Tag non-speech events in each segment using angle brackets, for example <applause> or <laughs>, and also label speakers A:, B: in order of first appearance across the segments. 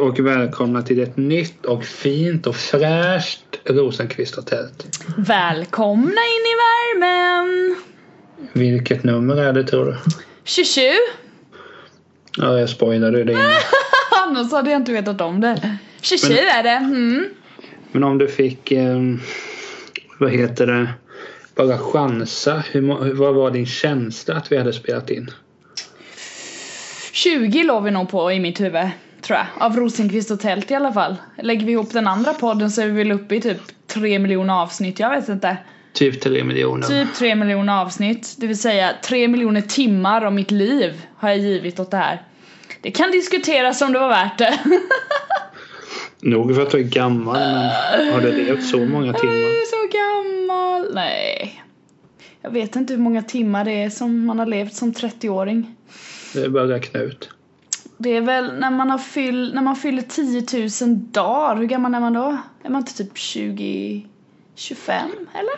A: och välkomna till ett nytt och fint och fräscht Rosenqvist och tält.
B: Välkomna in i värmen!
A: Vilket nummer är det tror du?
B: 27!
A: Ja, jag spoilade det innan.
B: Annars hade jag inte vetat om det. 27 är det. Mm.
A: Men om du fick, ehm, vad heter det, bara chansa. Hur, må- hur- vad var din känsla att vi hade spelat in?
B: 20 låg vi nog på i mitt huvud, tror jag. Av Rosenqvist och Tält i alla fall. Lägger vi ihop den andra podden så är vi väl uppe i typ 3 miljoner avsnitt, jag vet inte.
A: Typ 3 miljoner.
B: Typ 3 miljoner avsnitt, det vill säga 3 miljoner timmar av mitt liv har jag givit åt det här. Det kan diskuteras om det var värt det. <laughs>
A: Nog för att du är gammal men har du levt så många
B: Jag
A: timmar?
B: är så gammal. Nej. Jag vet inte hur många timmar det är som man har levt som 30-åring.
A: Det är bara räkna ut.
B: Det är väl när man, har fyll, när man fyller 10 000 dagar, hur gammal är man då? Är man inte typ 20, 25 eller?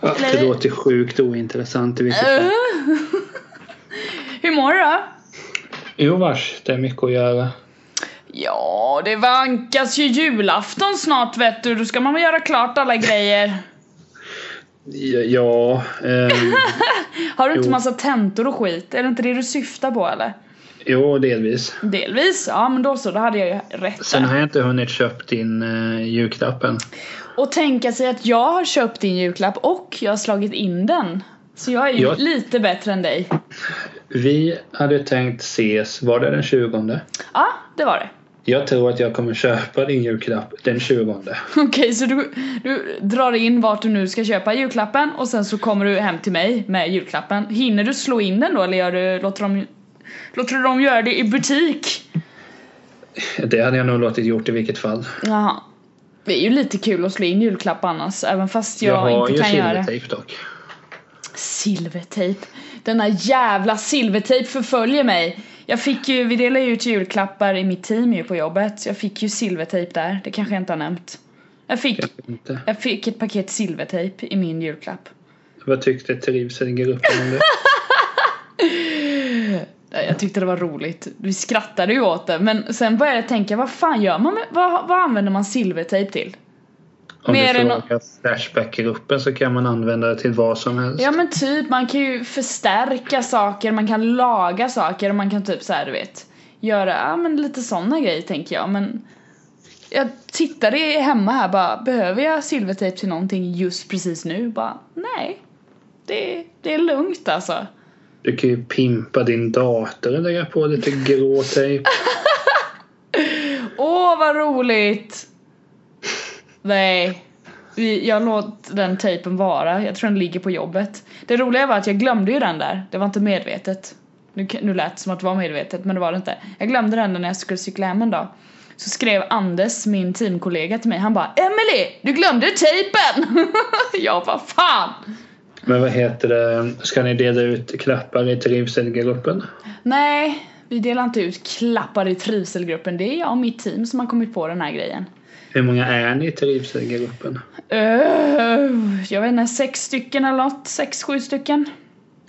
A: Ja, det
B: Eller-
A: låter sjukt ointressant i vilket fall.
B: <laughs> hur mår du då?
A: Jo vars, det är mycket att göra.
B: Ja, det vankas ju julafton snart vet du, då ska man väl göra klart alla grejer.
A: Ja, ehm,
B: Har du inte
A: Jo.
B: massa tentor och skit? Är det inte det du syftar på eller?
A: jo delvis.
B: Delvis, ja men då så, då hade jag ju rätt
A: Sen
B: där.
A: har jag inte hunnit köpt in eh, julklappen.
B: Och tänka sig att jag har köpt din julklapp och jag har slagit in den. Så jag är ju
A: Jag-
B: lite bättre än dig.
A: Vi hade tänkt ses, var det den 20?
B: Ja, det var det. <laughs>
A: Jag tror att jag kommer köpa din julklapp den 20.
B: Okej, så du, du drar in vart du nu ska köpa julklappen och sen så kommer du hem till mig med julklappen. Hinner du slå in den då eller gör du, låter, de, låter du dem göra det i butik?
A: <laughs> Det hade jag nog låtit gjort i vilket fall.
B: Jaha. Det är ju lite kul att slå in julklapp annars, även fast jag,
A: har
B: inte
A: ju
B: kan göra det.
A: silvertejp dock.
B: Silvertejp. Denna jävla silvertejp förföljer mig. Jag fick ju, vi delar ju ut julklappar i mitt team ju på jobbet. Jag fick ju silvertejp där, det kanske jag inte har nämnt. Jag fick,
A: Inte.
B: jag fick ett paket silvertejp i min julklapp.
A: Vad tyckte trivselgruppen
B: <laughs>
A: om det?
B: Eh, Jag tyckte det var roligt. Vi skrattade ju åt det, men sen började jag tänka vad fan gör man med, vad, vad använder man silvertejp till?
A: Om
B: Mer
A: du
B: än
A: frågar Flashback-gruppen så kan man använda det till vad som helst.
B: Ja men typ, man kan ju förstärka saker, man kan laga saker och man kan typ så här, du vet Göra, ja men lite sådana grejer tänker jag men Jag tittade hemma här bara, behöver jag silvertejp till någonting just precis nu? Bara, nej Det, det är lugnt alltså
A: Du kan ju pimpa din dator och lägga på lite grå
B: <laughs>
A: tejp.
B: Åh vad roligt! Nej Vi- jag låt den tejpen vara, jag tror den ligger på jobbet Det roliga var att jag glömde ju den där, det var inte medvetet Nu, kan- nu lät det som att det var medvetet men det var det inte Jag glömde den när jag skulle cykla hem en dag Så skrev Anders, min teamkollega till mig, han bara Emily, du glömde tejpen! <laughs> jag bara fan!
A: Men vad heter det? Ska ni dela ut klappar i trivselgruppen?
B: Nej, vi delar inte ut klappar i trivselgruppen, det är jag och mitt team som har kommit på den här grejen
A: Hur många är ni i trivselgruppen?
B: Eh, jag vet inte, sex stycken eller något. Sex, sju stycken.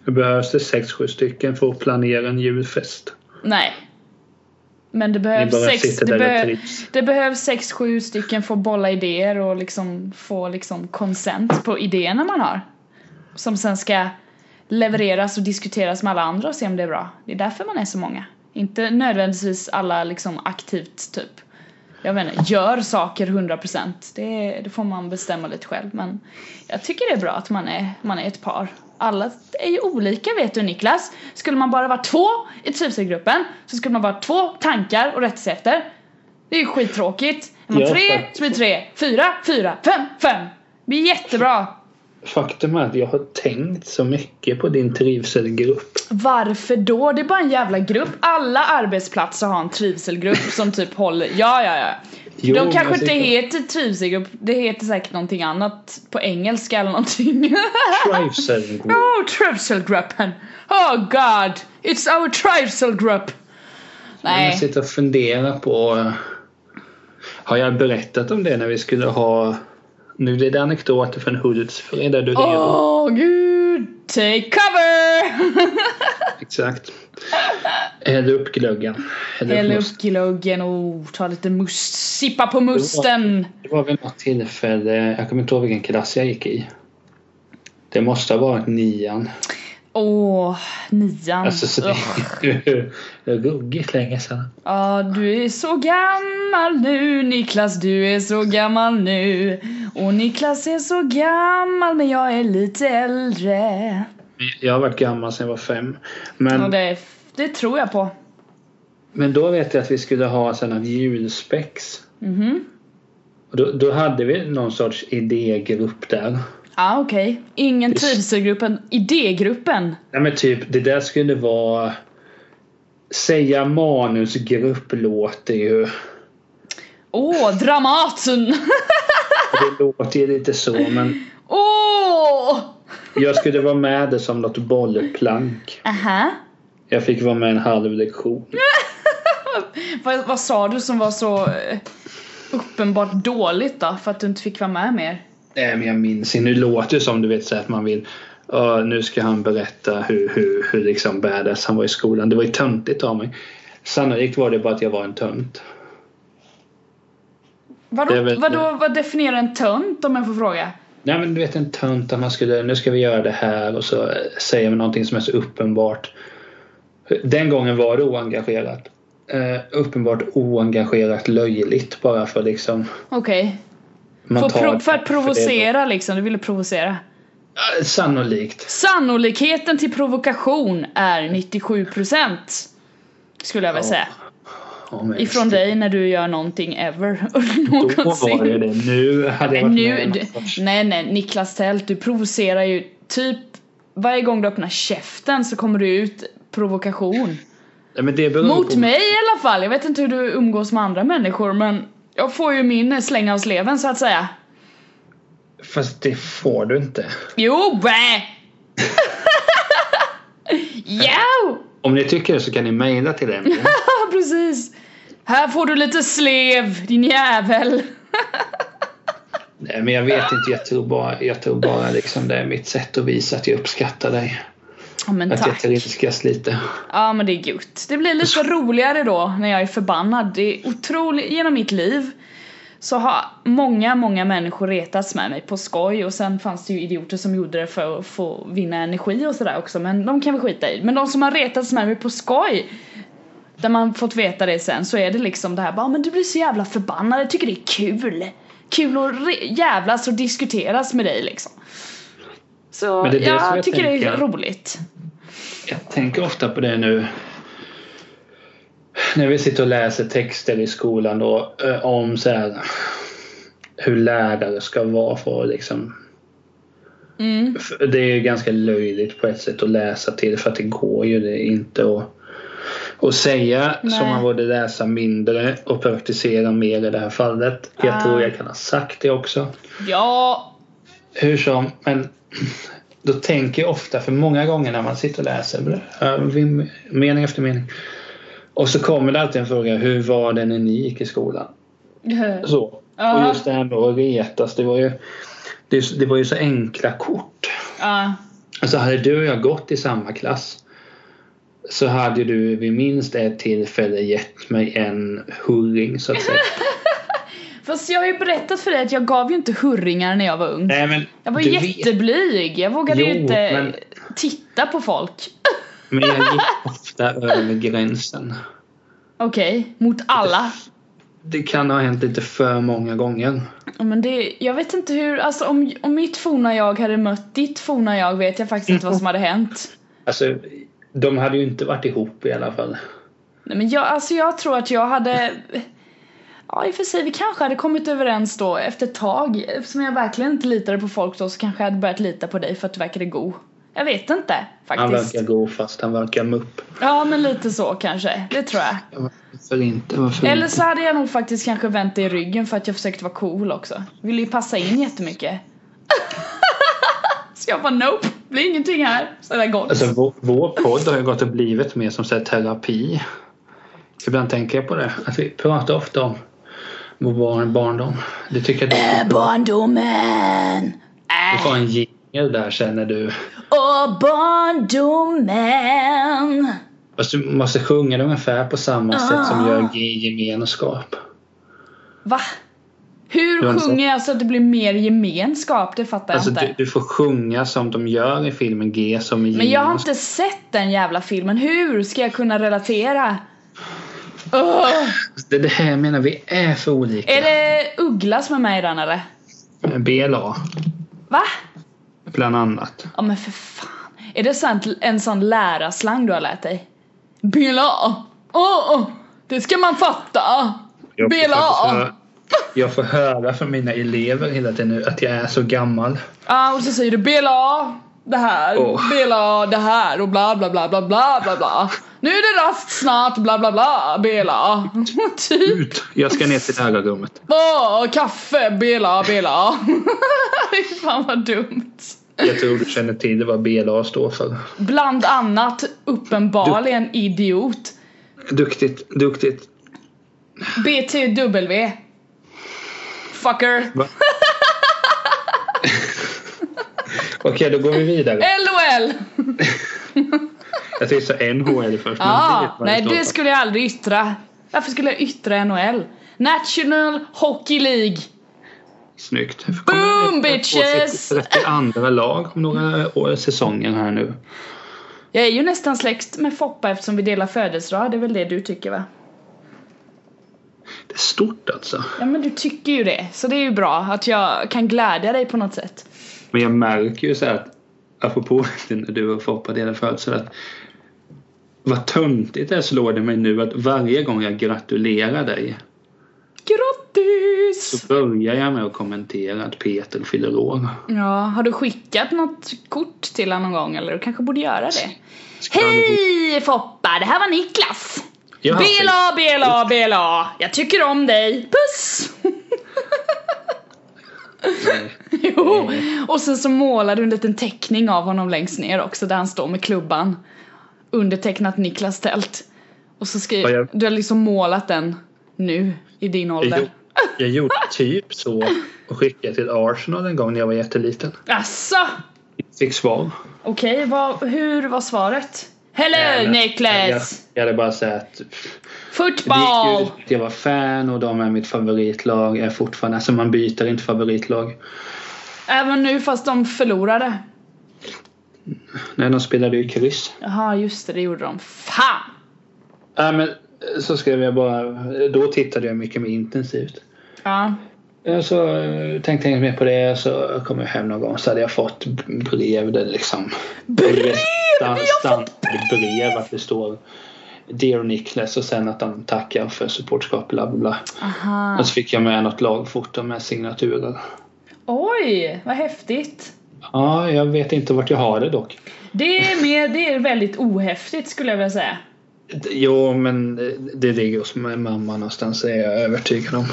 A: Det behövs det sex, sju stycken för att planera en julfest.
B: Nej. Men det
A: Ni
B: behövs
A: bara
B: sex,
A: sitter där
B: det,
A: och
B: behö-
A: trivs.
B: det behövs sex, sju stycken för att bolla idéer och liksom få liksom konsent på idéerna man har. Som sen ska levereras och diskuteras med alla andra och se om det är bra. Det är därför man är så många. Inte nödvändigtvis alla liksom aktivt typ. Jag menar, gör saker 100%. Det, det får man bestämma lite själv. Men jag tycker det är bra att man är, man är ett par. Alla är ju olika vet du Niklas. Skulle man bara vara två i trivselgruppen så skulle man vara två tankar och rätta sig efter. Det är ju skittråkigt. Är man
A: Ja,
B: tre
A: faktiskt.
B: så blir det tre, fyra, fyra, fem, fem. Det blir jättebra.
A: Faktum är att jag har tänkt så mycket på din trivselgrupp.
B: Varför då? Det är bara en jävla grupp. Alla arbetsplatser har en trivselgrupp som typ håller... Ja, ja, ja.
A: Jo,
B: De
A: men jag
B: kanske inte
A: sitter-
B: heter trivselgrupp. Det heter säkert någonting annat på engelska eller någonting. <laughs>
A: Trivselgrupp.
B: oh, trivselgruppen! Oh god! It's our trivselgrupp!
A: Jag
B: Nej.
A: sitter och funderar på... eh, Har jag berättat om det när vi skulle ha... Nu blir det anekdoter från Hultsfred där du redan
B: Åh oh, gud! Take cover!
A: Exakt. Häll upp glöggen. Häll upp
B: Häll
A: musten.
B: upp glöggen och ta lite must. Sippa på musten!
A: Det var vid något tillfälle, jag kommer inte ihåg vilken klass jag gick i. Det måste ha varit nian.
B: Åh, nian.
A: Alltså så det
B: Ugh.
A: är ju ruggigt länge sedan.
B: Ja, du är så gammal nu Niklas, du är så gammal nu Och Niklas är så gammal men jag är lite äldre
A: Jag har varit gammal sedan jag var fem. Men,
B: Och det, det tror jag på
A: men då vet jag att vi skulle ha sådana julspex.
B: Mhm.
A: Och då, då hade vi någon sorts idégrupp där.
B: Ja, okej. Ingen
A: Det-
B: trivselgruppen, idégruppen
A: Nej men typ, det där skulle vara... Säga manusgrupp låter ju...
B: Åh, Dramaten! <laughs>
A: Det låter ju lite så men
B: Åh!
A: jag skulle vara med det som något bollplank.
B: Aha.
A: Jag fick vara med en halv lektion.
B: Vad, vad sa du som var så eh, uppenbart dåligt då? För att du inte fick vara med mer?
A: Nej Eh, men jag minns inte. Nu låter det som du vet så här att man vill "Ja, nu ska han berätta hur, hur, hur liksom badass han var i skolan. Det var ju töntigt av mig. Sannolikt var det bara att jag var en tönt. Det är
B: Vadå,
A: väl-
B: vadå, vad definierar en tönt om jag får fråga?
A: Nej men du vet en tönt att man skulle, nu ska vi göra det här och så eh, säger man någonting som är så uppenbart. Den gången var det oengagerat. Eh, uppenbart oengagerat löjligt bara för liksom.
B: Okej.
A: Man
B: För,
A: tar
B: pro-
A: det
B: för att
A: det
B: provocera liksom, du ville provocera.
A: då. Eh, Sannolikt.
B: Sannolikheten till provokation är 97% Skulle jag väl
A: Ja,
B: säga.
A: Ja, men
B: Ifrån dig när du gör någonting ever. <laughs>
A: Då var det
B: någonsin.
A: det. Nu hade jag
B: Nej,
A: varit
B: nu,
A: med
B: du,
A: om någon sorts-
B: nej nej, Niklas Tält, du provocerar ju typ varje gång du öppnar käften så kommer du ut provokation.
A: Nej, men det beror
B: Mot
A: på-
B: mig i alla fall, jag vet inte hur du umgås med andra människor men jag får ju min släng av sleven så att säga.
A: Fast det får du inte.
B: Jo! <laughs> bä! Jo!
A: Om ni tycker det så kan ni mejla till Emil.
B: <laughs> Ja, precis! Här får du lite slev, din jävel!
A: Nej men jag vet inte, jag tror bara, jag tror bara liksom det är mitt sätt att visa att jag uppskattar dig.
B: Ja men
A: Att jag
B: tack.
A: trilskas lite.
B: Ja men det är gött. Det blir lite roligare då när jag är förbannad. Det är otroligt, genom mitt liv så har många, många människor retats med mig på skoj och sen fanns det ju idioter som gjorde det för att få vinna energi och sådär också men de kan vi skita i. Men de som har retats med mig på skoj där man fått veta det sen så är det liksom det här bara men du blir så jävla förbannad, jag tycker det är kul. Kul att re- jävlas och diskuteras med dig liksom. Så
A: Men det är det som
B: jag
A: jag
B: tycker det är
A: tänker.
B: roligt.
A: Jag tänker ofta på det nu. När vi sitter och läser texter i skolan då eh, om så här, hur lärare ska vara för att liksom
B: Mm.
A: För Det är ju ganska löjligt på ett sätt att läsa till för att det går ju det inte att, att säga
B: Nej.
A: så man borde läsa mindre och praktisera mer i det här fallet. Jag
B: Ah.
A: tror jag kan ha sagt det också.
B: Ja, <laughs>
A: Hur som, men då tänker jag ofta för många gånger när man sitter och läser eh, vim- mening efter mening och så kommer det alltid en fråga hur var det när ni gick i skolan? Så.
B: Ja.
A: Och just det här med att retas, det var ju, det, det var ju så enkla kort.
B: Ja,
A: Alltså hade du och jag gått i samma klass så hade du vid minst ett tillfälle gett mig en hurring så att
B: <laughs>
A: säga.
B: fast jag har ju berättat för dig att jag gav ju inte hurringar när jag var ung.
A: Nej men
B: Jag var
A: du vet,
B: jätteblyg, jag vågade ju
A: Jo,
B: inte
A: men-
B: titta på folk.
A: men jag gick ofta över gränsen.
B: Okej, mot alla.
A: Det kan ha hänt lite för många gånger.
B: Ja, Men det, jag vet inte hur, alltså om, om mitt forna jag hade mött ditt forna jag vet jag faktiskt inte vad som hade hänt.
A: Alltså de hade ju inte varit ihop i alla fall.
B: Nej men jag, alltså jag tror att jag hade Ja i och för sig, vi kanske hade kommit överens då efter ett tag. Eftersom jag verkligen inte litade på folk då så kanske jag hade börjat lita på dig för att du verkade god. Jag vet inte
A: Han
B: faktiskt.
A: verkar gå fast han verkar mupp.
B: Ja men lite så kanske, det tror jag.
A: Mm. Varför inte? Varför
B: Eller
A: inte?
B: så hade jag nog faktiskt kanske vänt det i ryggen för att jag försökte vara cool också. Ville ju passa in jättemycket. <laughs> så jag bara nope, blir ingenting här. Så det är gott.
A: Alltså vår, vår podd har ju gått och blivit mer som så här, terapi. Ibland tänker jag på det. Att vi pratar ofta om vår barn, barndom. Det tycker jag du
B: Äh, barndomen!
A: du
B: Äh,
A: får en jingel där sen när du...
B: åh barndomen!
A: Fast Alltså, du måste sjunga det ungefär på samma
B: Ah.
A: sätt som gör G i gemenskap.
B: Va? Hur
A: Du har inte
B: sjunger jag så att det blir mer gemenskap? Det fattar
A: Alltså
B: jag
A: du,
B: inte.
A: du får sjunga som de gör i filmen G som i
B: Men jag har
A: gemenskap.
B: inte sett den jävla filmen. Hur ska jag kunna relatera? Åh!
A: Det, det här menar vi är för olika.
B: Är det Uggla som är med i den eller?
A: Eh, BLA
B: Va?
A: bland annat.
B: Ja men för fan. Är det sant, en sån lärarslang du har lärt dig? Bela! Åh! det ska man fatta!
A: Jag får
B: BLA.
A: faktiskt höra- <laughs> Jag får höra från mina elever hela tiden nu att jag är så gammal.
B: Ja, och så säger du Bela! Det här,
A: Åh.
B: Bela det här och bla bla bla bla bla bla bla. Nu är det rast snart bla bla bla Bela. <laughs> typ.
A: Ut! Jag ska ner till lärarrummet.
B: Åh, kaffe Bela Bela. <laughs> Fy fan vad dumt.
A: Jag tror du känner till vad BLA står för.
B: Bland annat uppenbarligen idiot.
A: Duktigt, duktigt.
B: BTW. Fucker.
A: Va? <laughs> Okej, då går vi vidare.
B: LOL!
A: Jag tänkte säga NHL först. men
B: Ah,
A: vet vad
B: nej
A: står
B: det
A: för.
B: skulle jag aldrig yttra. Varför skulle jag yttra NHL? National Hockey League.
A: Snyggt.
B: Boom,
A: Kommer det få
B: bitches!
A: sitt 32 lag om några år, säsonger här nu.
B: Jag är ju nästan släkt med Foppa eftersom vi delar födelsedag. Det är väl det du tycker va?
A: Det är stort alltså.
B: Ja men du tycker ju det. Så det är ju bra att jag kan glädja dig på något sätt.
A: Men jag märker ju så här att apropå <laughs> när du och Foppa delade födelsedag att vad töntigt det är slår det mig nu att varje gång jag gratulerar dig
B: Grattis!
A: börjar jag med att kommentera att Peter fyller år.
B: Ja, har du skickat något kort till honom någon gång eller? Du kanske borde göra det.
A: Ska han ihop-
B: Hej Foppa, det här var Niklas!
A: Ja,
B: Bela, bela, bela! Jag tycker om dig! Puss! <laughs>
A: nej.
B: Jo!
A: Mm.
B: Och sen så målar du en liten teckning av honom längst ner också där han står med klubban. Undertecknat Niklas Tält. Och så
A: Ja,
B: skriver
A: jag-
B: du har liksom målat den nu i din
A: Jag,
B: ålder.
A: gjorde- jag gjorde typ så och skickade till Arsenal en gång när jag var jätteliten.
B: Asså!
A: Fick svar.
B: Okej, vad, hur var svaret? Hello
A: Jag,
B: Niklas!
A: jag hade bara sagt Det gick
B: Football!
A: ju ut att jag var fan och de är mitt favoritlag. Jag är fortfarande, alltså man byter inte favoritlag.
B: Även nu fast de förlorade.
A: Nej, de spelade ju kryss.
B: Jaha, just det, det gjorde de. Fan!
A: Nej, men eh, så skrev jag bara. Då tittade jag mycket mer intensivt.
B: Ja.
A: Eh, Så eh, tänkte jag inte mer på det. Så kom jag hem någon gång så hade jag fått b- brev där det liksom.
B: Brev!
A: Stan-
B: Vi har fått
A: standardbrev att det står Dear Niklas och sen att de tackar för supportskap bla bla bla.
B: Aha.
A: Och så fick jag med något lagfoto med signaturer.
B: Oj, vad häftigt.
A: Ja, jag vet inte vart jag har det dock.
B: Det är, mer, det är väldigt ohäftigt skulle jag vilja säga.
A: Jo, men eh, det ligger hos min mamma någonstans, det är jag övertygad om.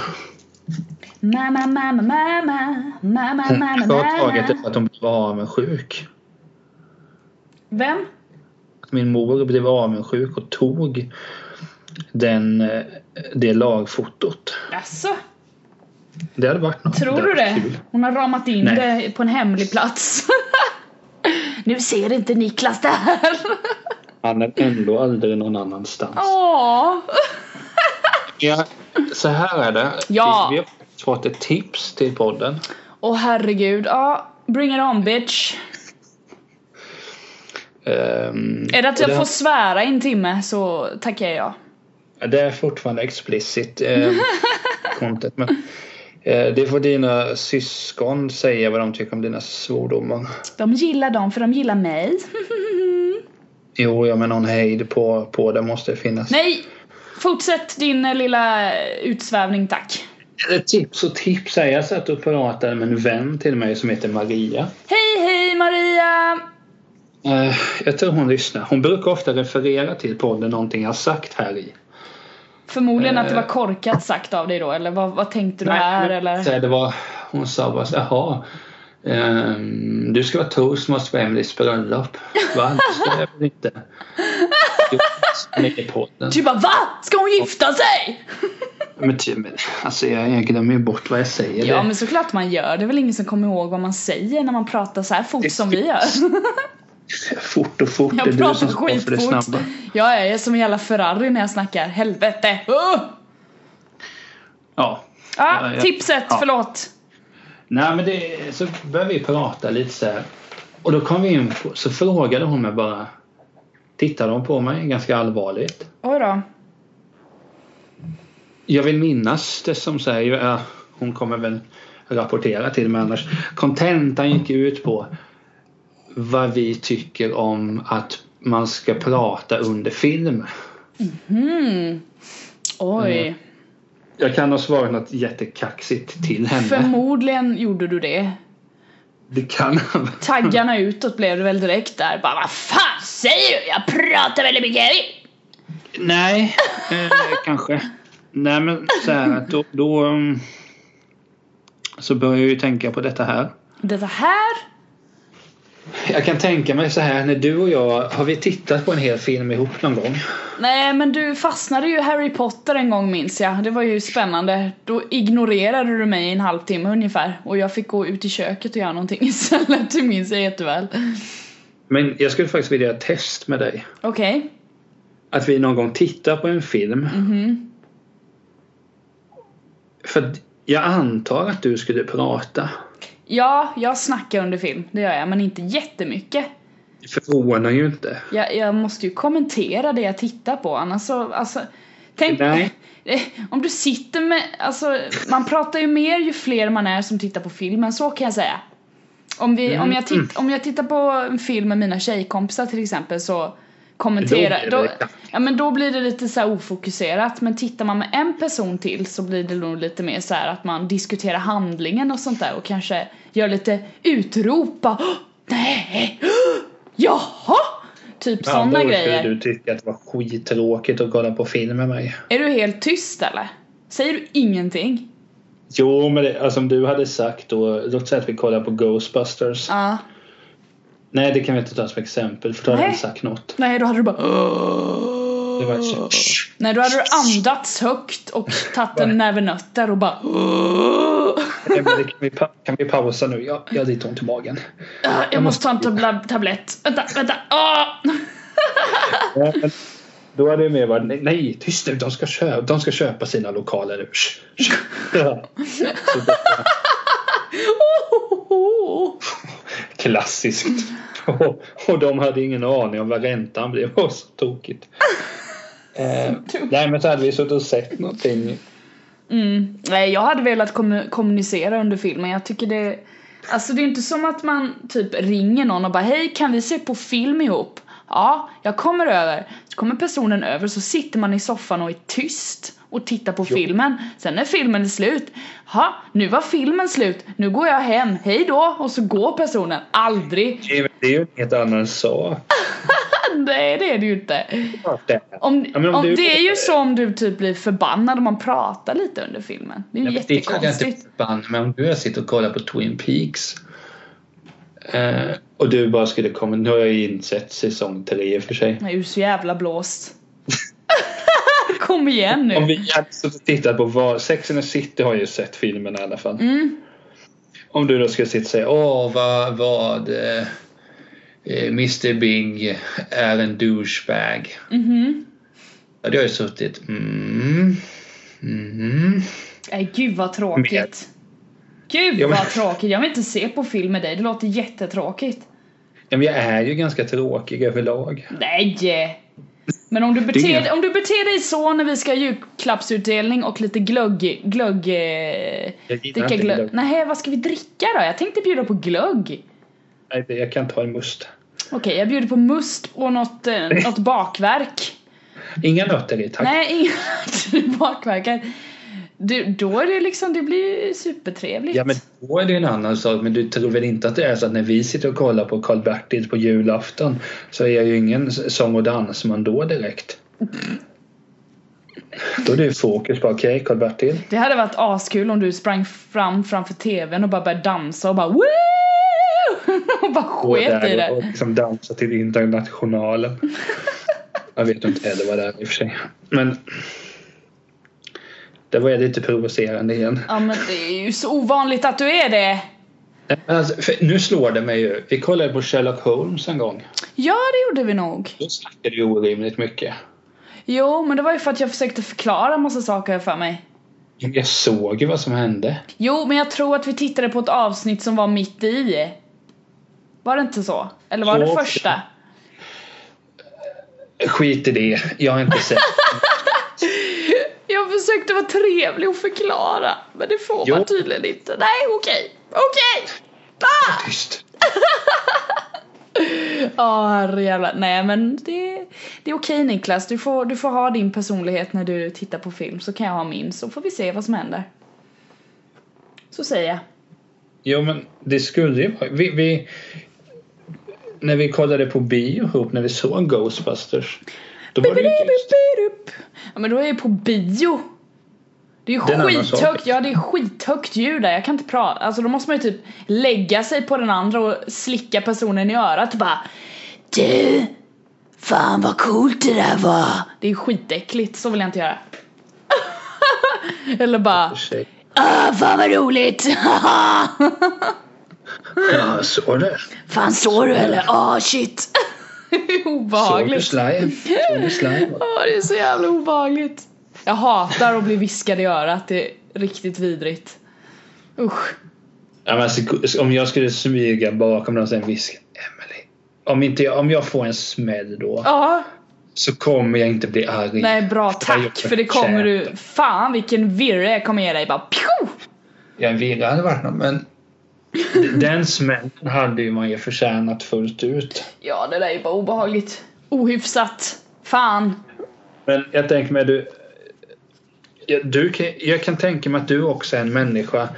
B: Mamma, mamma, mamma, mamma, mamma,
A: Jag har tagit det
B: mamma.
A: för att hon blev avundsjuk.
B: Vem?
A: Att Min mor blev avundsjuk och tog den, eh, det lagfotot.
B: Alltså,
A: Det hade varit något.
B: tror du
A: hade
B: det?
A: varit kul.
B: Hon har ramat in
A: Nej.
B: det på en hemlig plats. <laughs> nu ser inte Niklas det här.
A: Han är ändå aldrig någon annanstans.
B: Åh!
A: Ja, så här är det.
B: Ja.
A: Vi, vi har fått ett tips till podden.
B: Åh herregud, ja. Bring it on bitch.
A: Ehm,
B: Är det att
A: och
B: jag får svära i en timme så tackar jag ja. Eh.
A: Det är fortfarande explicit
B: <laughs>
A: eh, content. Men, eh, det får dina syskon säga vad de tycker om dina svordomar.
B: De gillar dem för de gillar mig. <laughs>
A: Jo, ja, men någon hejd på, på det måste finnas.
B: Nej! Fortsätt din eh, lilla utsvävning tack.
A: Ett tips och tips är jag satt och pratade med en vän till mig som heter Maria.
B: Hej hej Maria!
A: Eh, jag tror hon lyssnar. Hon brukar ofta referera till podden någonting jag har sagt här i.
B: Förmodligen att det
A: Eh.
B: var korkat sagt av dig då, eller vad, vad tänkte du
A: Nej,
B: här
A: men
B: eller?
A: Så här, det var, hon sa bara så här, jaha. ehm, du ska vara toastmaster på Emelies bröllop. Va? Det ska jag väl inte. Jo, med i podden.
B: Du bara VA? Ska hon gifta sig?
A: Men, ty- men, alltså, jag, jag glömmer ju bort vad jag säger.
B: Ja
A: Det-
B: men såklart man gör, det är väl ingen som kommer ihåg vad man säger när man pratar så här fort som vi gör.
A: Fort och fort.
B: Jag
A: det är du
B: pratar
A: som står för det
B: skitfort.
A: snabba.
B: Ja, jag är som en jävla Ferrari när jag snackar. Helvete! Oh!
A: Ja.
B: Ah,
A: Ja, ja.
B: tipset,
A: Ja.
B: förlåt.
A: Nej men det, så började vi prata lite så här. Och då kom vi in på, så frågade hon mig bara. Tittade hon på mig ganska allvarligt.
B: Oj då.
A: Jag vill minnas det som säger, ja, hon kommer väl rapportera till mig annars. Kontentan gick ju ut på vad vi tycker om att man ska prata under film.
B: Hmm. Oj.
A: Mm. Jag kan ha svarat något jättekaxigt till henne.
B: Förmodligen gjorde du det.
A: Det kan <laughs>
B: Taggarna utåt blev det väl direkt där. Bara vad fan säger du? Jag pratar väldigt mycket.
A: Nej, eh, kanske. Nej men så här att då, då mm, så börjar jag ju tänka på detta här.
B: Det här?
A: Jag kan tänka mig så här när du och jag, har vi tittat på en hel film ihop någon gång?
B: Nej men du fastnade ju i Harry Potter en gång minns jag. Det var ju spännande. Då ignorerade du mig i en halvtimme ungefär. Och jag fick gå ut i köket och göra någonting <laughs> istället. Det minns jag jätteväl.
A: Men jag skulle faktiskt vilja göra ett test med dig.
B: Okej.
A: Att vi någon gång tittar på en film.
B: Mhm.
A: För att jag antar att du skulle prata.
B: Ja, jag snackar under film. Det gör jag. Men inte jättemycket.
A: Det förvånar ju inte.
B: Jag, jag måste ju kommentera det jag tittar på annars så, alltså Tänk,
A: Nej.
B: Eh, om du sitter med, alltså man pratar ju mer ju fler man är som tittar på filmen, så kan jag säga Om, vi, om, jag,
A: Mm.
B: titt, om jag tittar på en film med mina tjejkompisar till exempel så kommenterar,
A: Då
B: då,
A: blir det katt.
B: ja, men då blir det lite så här ofokuserat men tittar man med en person till så blir det nog lite mer så här att man diskuterar handlingen och sånt där och kanske gör lite utrop bara, "Åh, nej, Åh, jaha! Typ
A: Andra
B: sådana
A: ord
B: grejer.
A: skulle du tycka att det var skittråkigt att kolla på film med mig.
B: Är du helt tyst eller? Säger du ingenting?
A: Jo, men det, alltså, om du hade sagt då, låt säga att vi kollar på Ghostbusters.
B: Ja.
A: Nej, det kan vi inte ta som exempel för då hade
B: Nej.
A: du sagt något.
B: Nej, då hade du bara...
A: Det var
B: Oh.
A: så, "Shh."
B: Nej, då hade du andats högt och tagit en näve nötter och bara...
A: Nej, men det kan, vi, pa- kan vi pausa nu? Jag, jag har lite ont i magen.
B: Ah, Jag måste ta en tabla- tablett. Vänta, vänta.
A: <laughs>
B: Ah!
A: Ja, men Då hade det mer varit nej, nej tyst nu, de ska, köpa, de ska köpa sina lokaler nu. Shh, shh. Ja.
B: Oh!
A: Klassiskt. Och, och de hade ingen aning om vad räntan blev. Det var så tokigt. Eh, nej men så hade vi suttit och sett någonting.
B: Mm. Nej, jag hade velat kommu- kommunicera under filmen. Jag tycker det... Alltså det är inte som att man typ ringer någon och bara Hej, kan vi se på film ihop? Ja, jag kommer över. Så kommer personen över så sitter man i soffan och är tyst och tittar på filmen. Sen när filmen är slut, ha, nu var filmen slut, nu går jag hem, hej då! Och så går personen. Aldrig! <laughs>
A: Det är- det är ju en helt annan sak.
B: Nej, det är det ju inte.
A: Det.
B: Om,
A: Ja, men
B: om
A: om du-
B: det är ju så om du typ blir förbannad om man pratar lite under filmen. Det är ju
A: Nej, men det kan jag
B: jättekonstigt.
A: inte förband, men om du och jag sitter och kollar på Twin Peaks eh, och du bara skulle komma, nu har jag ju insett säsong tre i och för sig.
B: Nej, du är så jävla blåst. <laughs> Kom igen
A: Om
B: nu.
A: vi hade suttit och tittat på vad, Sex and the City har ju sett filmen i alla fall.
B: Mm.
A: Om du då skulle sitta och säga åh vad, vad eh, eh, Mr Big är en douchebag.
B: Mhm.
A: Ja, det har ju suttit mm, mm.
B: Nej, gud vad tråkigt. Gud
A: Ja, men-
B: vad tråkigt. Jag vill inte se på film med dig. Det låter jättetråkigt.
A: Ja, men jag är ju ganska tråkig överlag.
B: Nej! Men om du,
A: Det är ingen-
B: beter, om du beter dig så när vi ska ha julklappsutdelning och lite glögg... glögg...
A: Jag
B: eh,
A: gillar
B: Dricka
A: inte
B: glögg.
A: glögg.
B: Nej, vad ska vi dricka då? Jag tänkte bjuda på glögg.
A: Nej, det- Jag kan ta en must.
B: Okej, jag bjuder på must och
A: <laughs>
B: något, eh, något bakverk.
A: Inga nötter i tack.
B: Nej, inga bakverkar. Du, då är det liksom, det blir ju supertrevligt.
A: Ja men då är det en annan sak men du tror väl inte att det är så att när vi sitter och kollar på Karl-Bertil på julafton så är jag ju ingen sång och dansman då direkt. Då är det ju fokus på okej Karl-Bertil.
B: Det hade varit askul om du sprang fram framför tvn och bara började dansa och bara woo! <laughs> Och bara
A: Gå
B: sket i
A: där och, och
B: det.
A: liksom dansa till Internationalen. Jag vet inte heller vad det är i och för sig. Men det var ju lite provocerande igen.
B: Ja men det är ju så ovanligt att du är det.
A: Men alltså, för nu slår det mig ju. Vi kollade på Sherlock Holmes en gång.
B: Ja, det gjorde vi nog.
A: Då snackade vi orimligt mycket.
B: Jo, men det var ju för att jag försökte förklara en massa saker för mig.
A: Jag såg ju vad som hände.
B: Jo, men jag tror att vi tittade på ett avsnitt som var mitt i. Var det inte så? Eller var
A: Så
B: det
A: också.
B: första?
A: Skit i det. Jag har inte sett.
B: Jag försökte vara trevlig och förklara, men det får
A: Jo.
B: man tydligen inte. Nej, okej. Okej! Ah!
A: Tyst.
B: Ja, herrejävlar. Nej, men det, det är okej Niklas. Du får, du får ha din personlighet när du tittar på film, så kan jag ha min, så får vi se vad som händer. Så säger jag.
A: Jo, men det skulle ju vara... Vi, vi, när vi kollade på bio ihop, när vi såg Ghostbusters. Då var det ju tyst.
B: Ja, men då är jag på bio. Det är ju
A: Det är en annan sak.
B: skithögt, ja det är skithögt ljud där, jag kan inte prata, alltså då måste man ju typ lägga sig på den andra och slicka personen i örat och bara Du! Fan vad coolt det där var! Det är skitäckligt, så vill jag inte göra. <laughs> Eller bara
A: Ursäkta.
B: Ah, fan vad roligt! <laughs>
A: Ja, så det.
B: fan såg du eller? Ah shit! <laughs>
A: Såg du
B: Obehagligt.
A: slime? Såg du slime?
B: Åh, det är så jävla obehagligt. Jag hatar att bli viskad i örat. Det är riktigt vidrigt. Usch.
A: Ja, men alltså, om jag skulle smyga bakom dem och sen viska Emily. Om, inte jag, om jag får en smäll då
B: Ja,
A: så kommer jag inte bli arg.
B: nej bra
A: jag
B: tack
A: gjort
B: för det kommer du. Fan vilken virre jag kommer ge dig. Bara pju!
A: Jag är virrad hade varit någon, <laughs> men d- den smällen hade ju man ju förtjänat fullt ut.
B: Ja, det där är ju bara obehagligt. Ohyfsat. Fan.
A: Men jag tänker mig du... ja, Du kan, jag kan tänka mig att du också är en människa.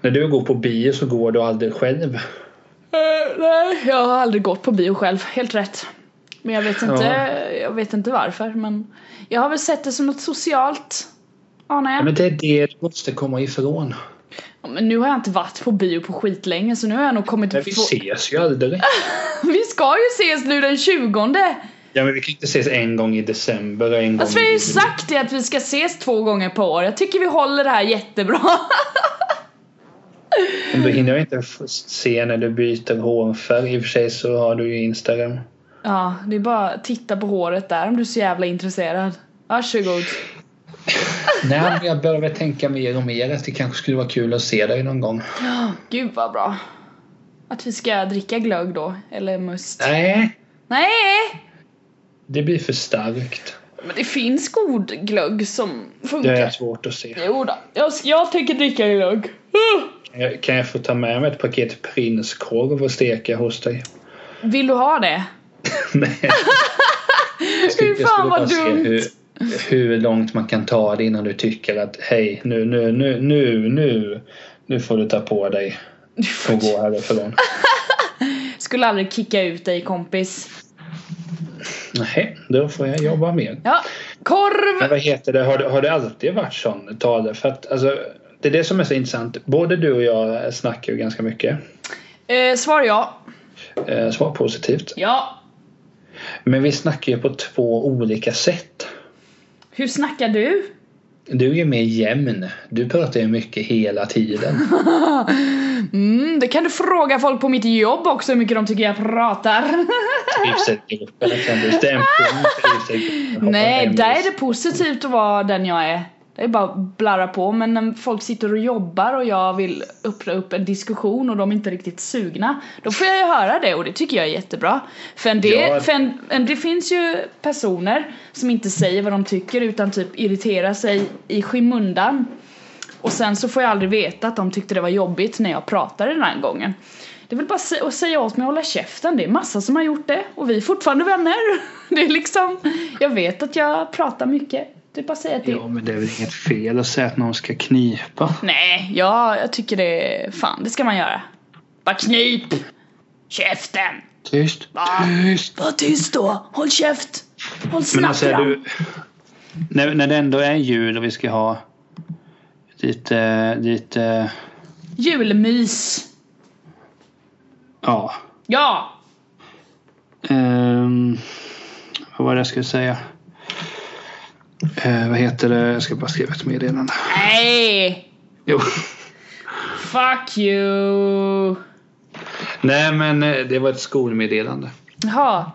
A: När du går på bio så går du aldrig själv.
B: Eh, nej, jag har aldrig gått på bio själv. Helt rätt. Men jag vet inte, jag vet inte varför. Men jag har väl sett det som något socialt. Anar
A: Ja,
B: jag.
A: men det är det du måste komma ifrån.
B: Ja, Men nu har jag inte varit på bio på skitlänge så nu har jag nog kommit...
A: Men vi
B: få-
A: ses ju aldrig.
B: Vi ska ju ses nu den 20!
A: Ja, men vi kan inte ses en gång i december och en gång
B: Fast Alltså, vi
A: i
B: har ju
A: juli.
B: sagt det att vi ska ses två gånger per år. Jag tycker vi håller det här jättebra. <laughs>
A: Men Då hinner jag inte f- se när du byter hårfärg. I och för sig så har du ju Instagram.
B: Ja, det är bara att titta på håret där om du är så jävla intresserad. Varsågod.
A: Nej, men jag börjar väl tänka mer och mer att det kanske skulle vara kul att se dig någon gång.
B: Gud vad bra. Att vi ska dricka glögg då, eller must.
A: Nej,
B: Nej!
A: det blir för starkt.
B: Men det finns god glögg som
A: Det
B: funkar.
A: är svårt att se.
B: Jo då. Jag, jag tänker dricka glögg. Uh!
A: Jag- Kan jag få ta med mig ett paket prinskorv och steka hos dig?
B: Vill du ha det?
A: Nej. Jag skulle,
B: Fy fan, vad dumt.
A: hur, hur långt man kan ta det innan du tycker att hej, nu, nu, nu, nu, nu, nu får du ta på
B: <laughs>
A: dig och gå härifrån.
B: Skulle aldrig kicka ut dig kompis.
A: Nej, då får jag jobba mer.
B: Ja, korv!
A: Men vad heter det, har det, har det alltid varit sån tale? För att alltså, det är det som är så intressant. Både du och jag snackar ju ganska mycket.
B: Eh, svar ja.
A: Eh, Svar positivt.
B: Ja.
A: Men vi snackar ju på två olika sätt.
B: Hur snackar du?
A: Du är ju mer jämn. Du pratar ju mycket hela
B: <laughs>
A: tiden.
B: Mm, det kan du fråga folk på mitt jobb också hur mycket de tycker jag pratar.
A: Trivselgruppen exempelvis. Den punkten, trivselgruppen, hoppar
B: Nej,
A: hem.
B: där är det positivt att vara den jag är. Det är bara att blarra på men när folk sitter och jobbar och jag vill öppna upp en diskussion och de är inte riktigt sugna Då får jag ju höra det och det tycker jag är jättebra För, en del,
A: Ja.
B: för en, en, det finns ju personer som inte säger vad de tycker utan typ irriterar sig i skymundan Och sen så får jag aldrig veta att de tyckte det var jobbigt när jag pratade den här gången det är väl bara att sä- att säga åt mig att hålla käften, det är massa som har gjort det och vi är fortfarande vänner. <laughs> Det är liksom, jag vet att jag pratar mycket. Det är bara att säga att det
A: Ja, men det är väl inget fel att säga att någon ska knipa.
B: Nej, ja, jag tycker det, fan det ska man göra. Bara knip! Käften!
A: Tyst. Ah, Tyst.
B: Var tyst då, håll käft! Håll
A: Men alltså är
B: fram.
A: du... När, när det ändå är jul och vi ska ha lite, lite,
B: Julmys!
A: ja.
B: Ja!
A: Ehm, vad var det jag skulle säga? Eh, vad heter det? Jag ska bara skriva ett meddelande.
B: Nej!
A: Jo.
B: Fuck you!
A: Nej, men eh, det var ett skolmeddelande.
B: Jaha.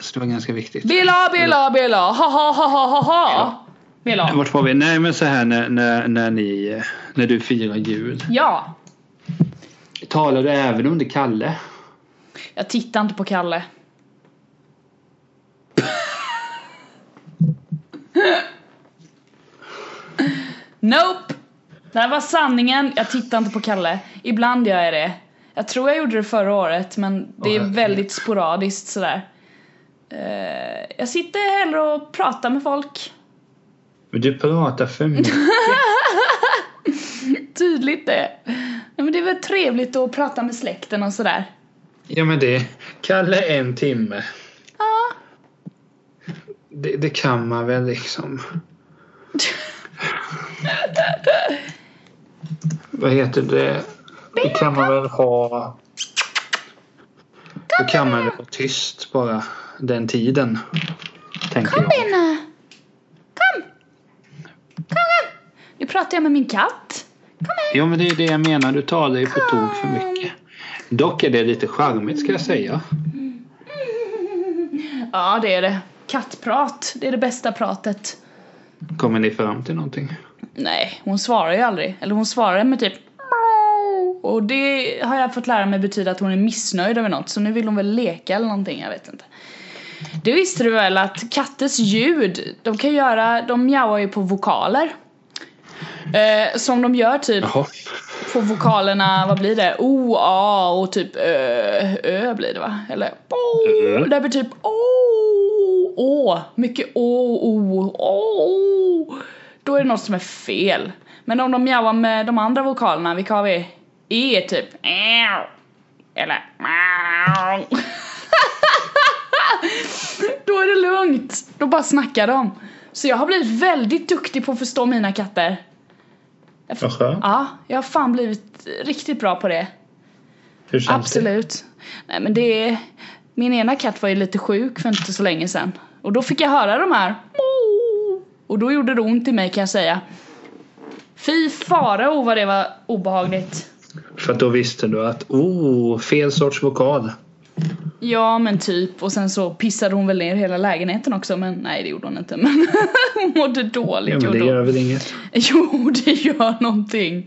A: Så det var ganska viktigt.
B: Bela, bela, bela. Ha, ha, ha, ha, ha, ha. Bela.
A: Vart var vi? Nej, men så här när, när, när, ni, eh, när du firar jul.
B: Ja.
A: Talar du även under Kalle?
B: Jag tittar inte på Kalle. nope! Det här var sanningen, jag tittar inte på Kalle. Ibland gör jag det. Jag tror jag gjorde det förra året men det är
A: Okej.
B: väldigt sporadiskt sådär. Eh, jag sitter hellre och pratar med folk.
A: Men du pratar för mycket.
B: Tydligt det. Nej, men det är väl trevligt att prata med släkten och sådär.
A: ja, men det. Kalle en timme.
B: Ja.
A: Det, det kan man väl liksom. Vad heter det? Det kan man väl ha... Då kan man väl vara tyst bara den tiden. Tänker jag.
B: Benna! Kom! Kom, kom! Nu pratar jag med min katt.
A: Jo men det är ju det jag menar. Du talar ju på tok för mycket. Dock är det lite charmigt ska jag säga.
B: Ja, det är det. Kattprat, det är det bästa pratet.
A: Kommer ni fram till någonting?
B: Nej, hon svarar ju aldrig. Eller hon svarar med typ och det har jag fått lära mig betyder att hon är missnöjd över något så nu vill hon väl leka eller någonting, jag vet inte. Det visste du väl att katters ljud, de kan göra, de mjauar ju på vokaler. Eh, som de gör typ
A: Jaha.
B: på vokalerna, vad blir det? O, A och typ Ö, Ö blir det va? Eller O,
A: Ö.
B: det blir typ O, Å, mycket Å, O, Å. Då är det något som är fel. Men om de mjauar med de andra vokalerna, vilka har vi? E typ, Äu. eller Mau. <laughs> Då är det lugnt, då bara snackar de. Så jag har blivit väldigt duktig på att förstå mina katter.
A: Vad skönt.
B: Ja, jag har fan blivit riktigt bra på det.
A: Hur känns det?
B: Absolut. Nej men det är... Min ena katt var ju lite sjuk för inte så länge sedan. Och då fick jag höra de här. Och då gjorde det ont i mig kan jag säga. Fy farao vad det var obehagligt.
A: För att då visste du att oh, fel sorts vokal.
B: Ja men typ. Och sen så pissade hon väl ner hela lägenheten också. Men nej det gjorde hon inte. <laughs> Men hon mådde dåligt.
A: Ja, men det
B: gjorde hon.
A: gör väl inget.
B: <laughs> Jo, det gör någonting.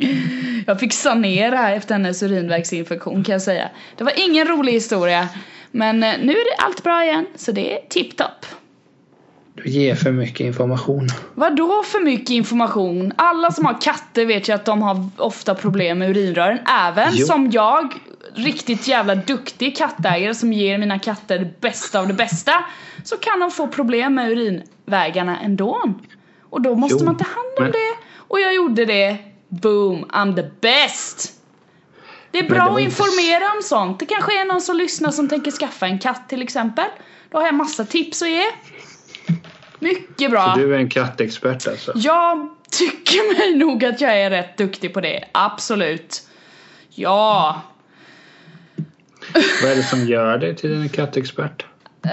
B: Jag fick sanera efter hennes urinvägsinfektion kan jag säga. Det var ingen rolig historia. Men eh, nu är det allt bra igen, så det är tipptopp.
A: Du ger för mycket information.
B: Vadå för mycket information? Alla som har katter vet ju att de har ofta problem med urinrören. Även
A: Jo.
B: som jag, riktigt jävla duktig kattägare som ger mina katter det bästa av det bästa. Så kan de få problem med urinvägarna ändå. Och då måste
A: Jo,
B: man ta hand om
A: men-
B: det. Och jag gjorde det. Boom, I'm the best! Det är
A: det
B: bra
A: var
B: att
A: inte-
B: informera om sånt. Det kanske är någon som lyssnar som tänker skaffa en katt till exempel. Då har jag massa tips att ge. Mycket bra.
A: Du är en kattexpert alltså.
B: Jag tycker mig nog att jag är rätt duktig på det, absolut. Ja,
A: Vad är det som gör dig till en kattexpert?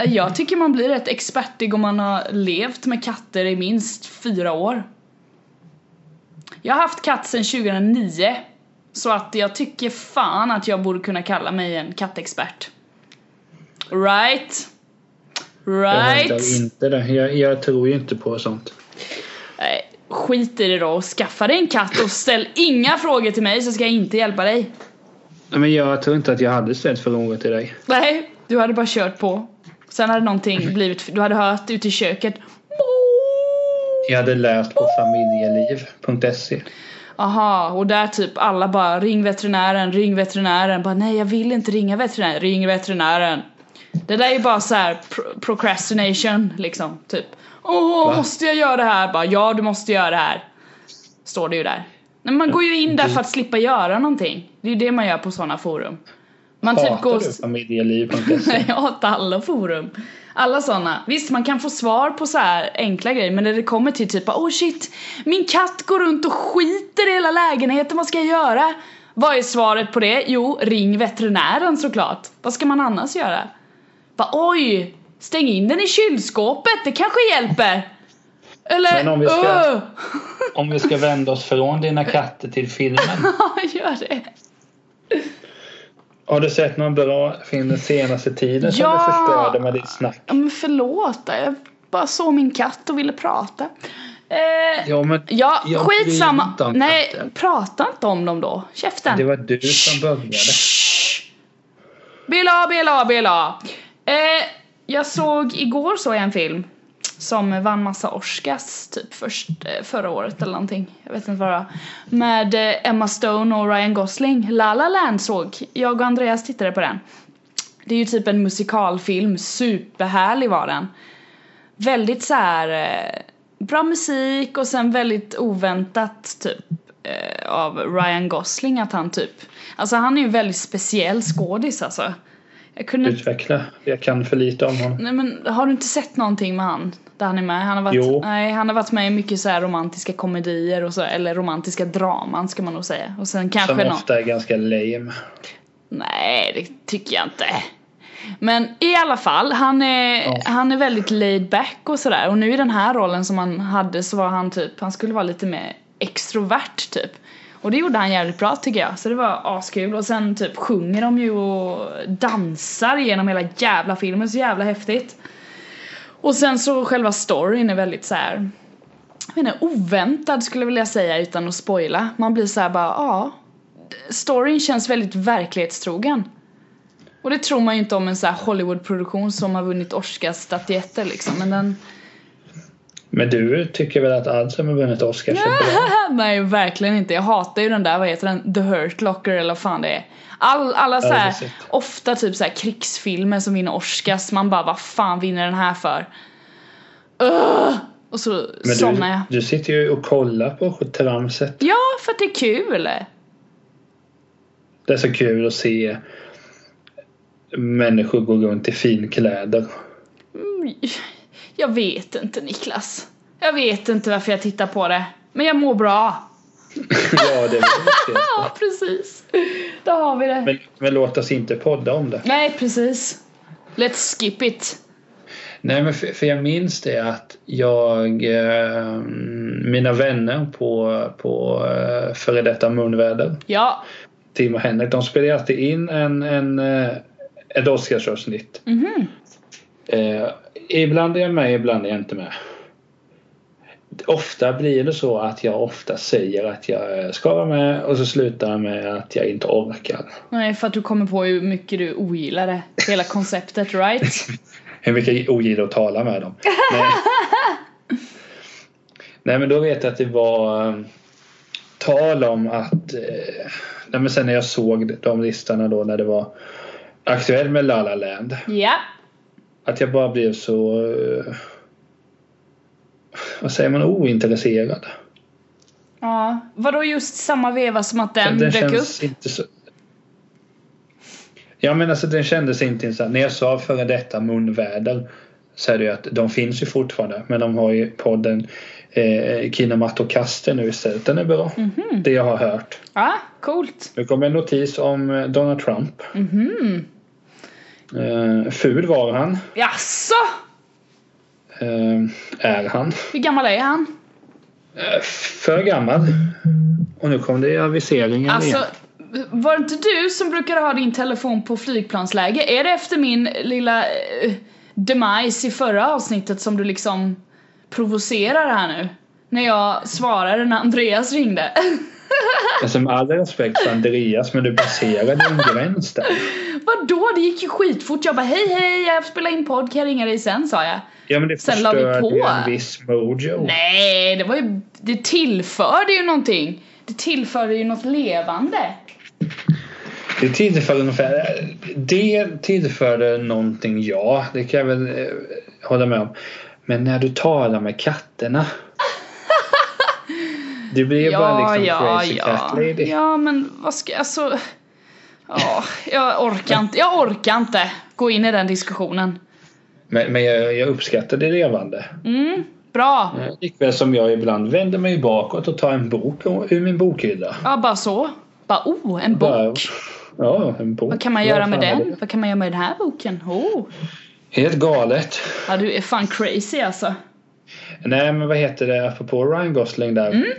B: eh, jag tycker man blir rätt expertig om man har levt med katter i minst fyra år. Jag har haft katt sedan 2009, så att jag tycker fan att jag borde kunna kalla mig en kattexpert. Right?
A: Jag
B: Right?
A: hävdar inte det. Jag, jag tror ju inte på sånt.
B: Nej, skit i det då och skaffa dig en katt och ställ inga frågor till mig så ska jag inte hjälpa dig.
A: Nej, Men jag tror inte att jag hade ställt frågor till dig.
B: Nej, du hade bara kört på. Sen hade
A: Mm.
B: någonting blivit, du hade hört ute i köket.
A: Jag hade läst på familjeliv.se.
B: Aha, och där typ alla bara ring veterinären, ring veterinären. Bara nej jag vill inte ringa veterinären, ring veterinären. Det där är ju bara så här pro- procrastination liksom, typ. Åh,
A: Va?
B: måste jag göra det här? Bara ja, du måste göra det här. Står det ju där. Men man går ju in där för att slippa göra någonting. Det är ju det man gör på sådana forum. Man typ
A: Hatar
B: går...
A: du familjeliv.se?
B: Nej, jag hatar alla forum. Alla såna. Visst, man kan få svar på så här enkla grejer, men när det kommer till typ oh shit, min katt går runt och skiter i hela lägenheten, vad ska jag göra? Vad är svaret på det? Jo, ring veterinären såklart. Vad ska man annars göra? Bara, oj, stäng in den i kylskåpet, det kanske hjälper. Eller,
A: Men om vi
B: <laughs>
A: ska-
B: "Öh."
A: Om vi ska vända oss från dina katter till filmen.
B: Ja, gör det.
A: Har du sett någon bra film den senaste tiden som
B: Ja!
A: du förstörde med ditt snack?
B: Ja, Men förlåt, jag bara såg min katt och ville prata. Eh,
A: Ja, men
B: ja,
A: jag bryr mig inte
B: skitsamma.
A: om
B: Nej,
A: katter.
B: prata inte om dem då. Käften.
A: det var du som började.
B: Shh. Bela, bela, bela. Eh, jag såg igår så jag en film som vann massa Oscars typ först, eh, förra året eller någonting. Jag vet inte vad det var. Med eh, Emma Stone och Ryan Gosling. La La Land såg. Jag och Andreas tittade på den. Det är ju typ en musikalfilm. Superhärlig var den. Väldigt så här eh, bra musik och sen väldigt oväntat typ eh, av Ryan Gosling att han typ Alltså han är ju en väldigt speciell skådis alltså. Jag kunde inte
A: Utveckla. Jag kan för lite om honom.
B: Nej men har du inte sett någonting med han? Där han är med? Han har varit,
A: Jo.
B: Nej, han har varit med i mycket så här romantiska komedier och så, eller romantiska draman ska man nog säga. Och sen kanske
A: Som
B: någon...
A: ofta är ganska lame.
B: Nej, det tycker jag inte. Men i alla fall, han är,
A: Ja.
B: han är väldigt laid back och sådär. Och nu i den här rollen som han hade så var han typ, han skulle vara lite mer extrovert typ. Och det gjorde han jävligt bra tycker jag, så det var askul. Och sen typ sjunger de ju och dansar genom hela jävla filmen, så jävla häftigt. Och sen så själva storyn är väldigt så här. jag vet inte, oväntad skulle jag vilja säga utan att spoila. Man blir så här bara, ja. Storyn känns väldigt verklighetstrogen. Och det tror man ju inte om en så här Hollywood-produktion som har vunnit Oscarsstatyetter liksom. Men den... <laughs>
A: Men du tycker väl att allt som har vunnit Oscars är bra?
B: Nej, verkligen inte. Jag hatar ju den där, vad heter den? The Hurt Locker eller vad fan det är. All, alla så
A: Ja, det har
B: här,
A: jag sett.
B: ofta typ så här krigsfilmer som vinner Oscars. Man bara, vad fan vinner den här för? Ugh! Och så
A: Men
B: somnar jag.
A: du, du sitter ju och kollar på tramset.
B: Ja, för att det är kul.
A: Det är så kul att se människor gå runt i finkläder. <laughs>
B: Mm, Jag vet inte Niklas. Jag vet inte varför jag tittar på det. Men jag mår bra.
A: ja, det är väl
B: <laughs> Ja, precis. Då har vi det.
A: men, men låt oss inte podda om det.
B: Nej, precis. Let's skip it.
A: Nej, men för, för jag minns det att jag, eh, mina vänner på, på eh, före detta munväder,
B: Ja.
A: Tim och Henrik, de spelade alltid in en, en, eh, ett Oscarsavsnitt.
B: Mhm.
A: Eh, ibland är jag med, ibland är jag inte med. Ofta blir det så att jag ofta säger att jag eh, ska vara med och så slutar jag med att jag inte orkar.
B: Nej, för att du kommer på hur mycket du ogillar det. Hela konceptet, right?
A: Hur mycket jag ogillar att tala med dem. Nej. nej men då vet jag att det var eh, tal om att... Eh, nej men sen när jag såg de listorna då när det var aktuellt med La La Land.
B: Ja.
A: Att jag bara blev så... Eh, vad säger man? Ointresserad.
B: Ja. Vadå just samma veva som att den,
A: Alltså, den
B: dök
A: känns
B: upp?
A: inte så... Ja men alltså den kändes inte intressant. När jag sa före detta munväder så är det ju att de finns ju fortfarande men de har ju podden eh, Kinematokaster nu istället. Den är bra.
B: Mhm.
A: Det jag har hört.
B: Ja, coolt.
A: Nu kommer en notis om eh, Donald Trump.
B: Mhm.
A: Eh, ful var han.
B: Jaså?
A: Eh, är han.
B: Hur gammal är han?
A: Eh, för gammal. Och nu kom det aviseringen
B: Alltså,
A: igen.
B: var det inte du som brukade ha din telefon på flygplansläge? Är det efter min lilla eh, demise i förra avsnittet som du liksom provocerar här nu? När jag svarade när Andreas ringde. <laughs>
A: Alltså med all respekt för Andreas men du passerade en gräns där.
B: Vadå? Det gick ju skitfort. Jag bara hej hej, jag spelar in podd, kan jag ringa dig sen? sa jag.
A: Ja men det
B: Sen la vi
A: förstörde ju
B: på.
A: en viss mojo.
B: Nej, det var ju... Det tillförde ju någonting. Det tillförde ju något levande.
A: Det tillförde ungefär... Det tillförde någonting, ja. Det kan jag väl eh, hålla med om. Men när du talar med katterna.
B: <laughs>
A: Det blir ju bara liksom crazy cat lady.
B: Ja, men vad ska... Alltså... Ja, jag orkar inte. Jag orkar inte gå in i den diskussionen.
A: Men, men jag, jag uppskattar det levande.
B: Mm, bra.
A: Eh, Likväl som jag ibland vänder mig bakåt och tar en bok ur min bokhylla.
B: Ja, bara så. Bara oh, en bok.
A: Bara- Ja, en bok.
B: Vad kan man
A: Vad
B: göra
A: fan
B: med
A: är
B: den?
A: det?
B: Vad kan man göra med den här boken? Oh.
A: Helt galet.
B: Ja, du är fan crazy alltså.
A: Nej men vad heter det apropå Ryan Gosling där.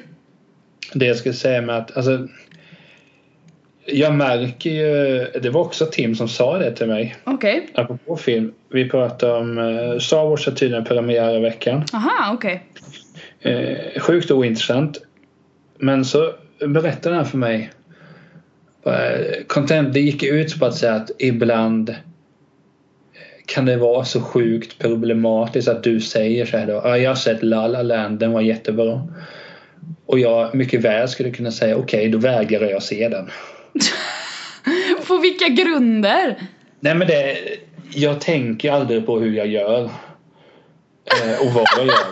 A: Det jag skulle säga med att alltså jag märker ju, det var också Tim som sa det till mig,
B: Okej.
A: apropå film. Vi pratade om eh, Star Wars har tydligen premiär i veckan.
B: Aha, okej.
A: Eh, sjukt ointressant. Men så berättade han för mig. Eh, Content, det gick ut på att säga att ibland kan det vara så sjukt problematiskt att du säger så här då. "Ja, Jag har sett La La Land, den var jättebra. Och jag mycket väl skulle kunna säga okej, då vägrar jag se den.
B: På vilka grunder?
A: Nej men det, jag tänker aldrig på hur jag gör. Eh, och vad jag gör.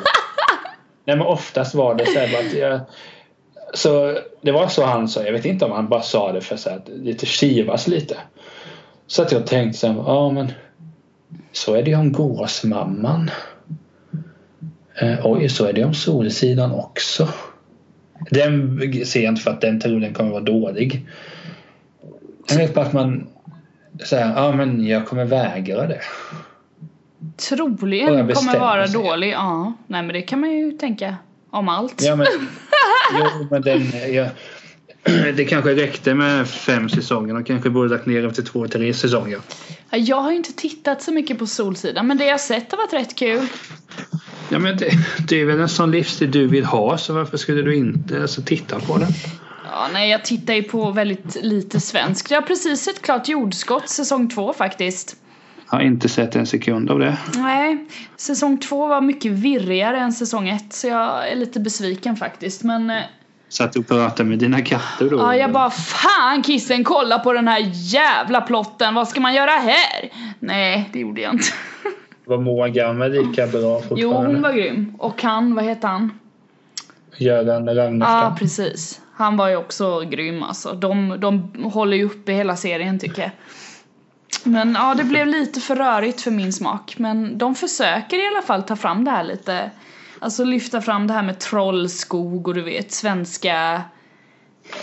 A: Nej men oftast var det så här bara att jag, Så det var så han sa, jag vet inte om han bara sa det för så här, att lite kivas lite. Så att jag tänkte så här, ja men så är det ju om Gåsmamman. Eh, oj, så är det om Solsidan också. Den ser jag inte för att den troligen kommer vara dålig. Jag vet bara att man säger, ja men jag kommer vägra det.
B: Troligen
A: Och jag
B: kommer
A: bestämmer
B: vara
A: sig.
B: dålig. Ja, nej men det kan man ju tänka om allt.
A: Ja, men, <laughs> jo, men den, ja, det kanske räckte med fem säsonger. och kanske borde lagt ner efter två, tre säsonger.
B: Ja, Jag har ju inte tittat så mycket på Solsidan men det jag sett har varit rätt kul.
A: Ja, men det, det är väl en sån livsstil du vill ha, så varför skulle du inte alltså, titta på den?
B: Ja, nej jag tittar ju på väldigt lite svensk. Jag har precis sett klart Jordskott säsong två faktiskt.
A: Jag har inte sett en sekund av det.
B: Nej, säsong två var mycket virrigare än säsong ett så jag är lite besviken faktiskt men eh,
A: Satt du och pratade med dina katter då?
B: Ja, jag bara fan kissen kolla på den här jävla plotten, vad ska man göra här? Nej, det gjorde jag inte. <laughs>
A: Var Moa Gammel lika bra fortfarande?
B: Jo, hon var grym. Och han, vad heter han?
A: Göran
B: Ja,
A: Ragnarsson.
B: precis. Han var ju också grym alltså. De, de håller ju uppe hela serien tycker jag. Men ja, det blev lite för rörigt för min smak. Men de försöker i alla fall ta fram det här lite. Alltså lyfta fram det här med trollskog och du vet svenska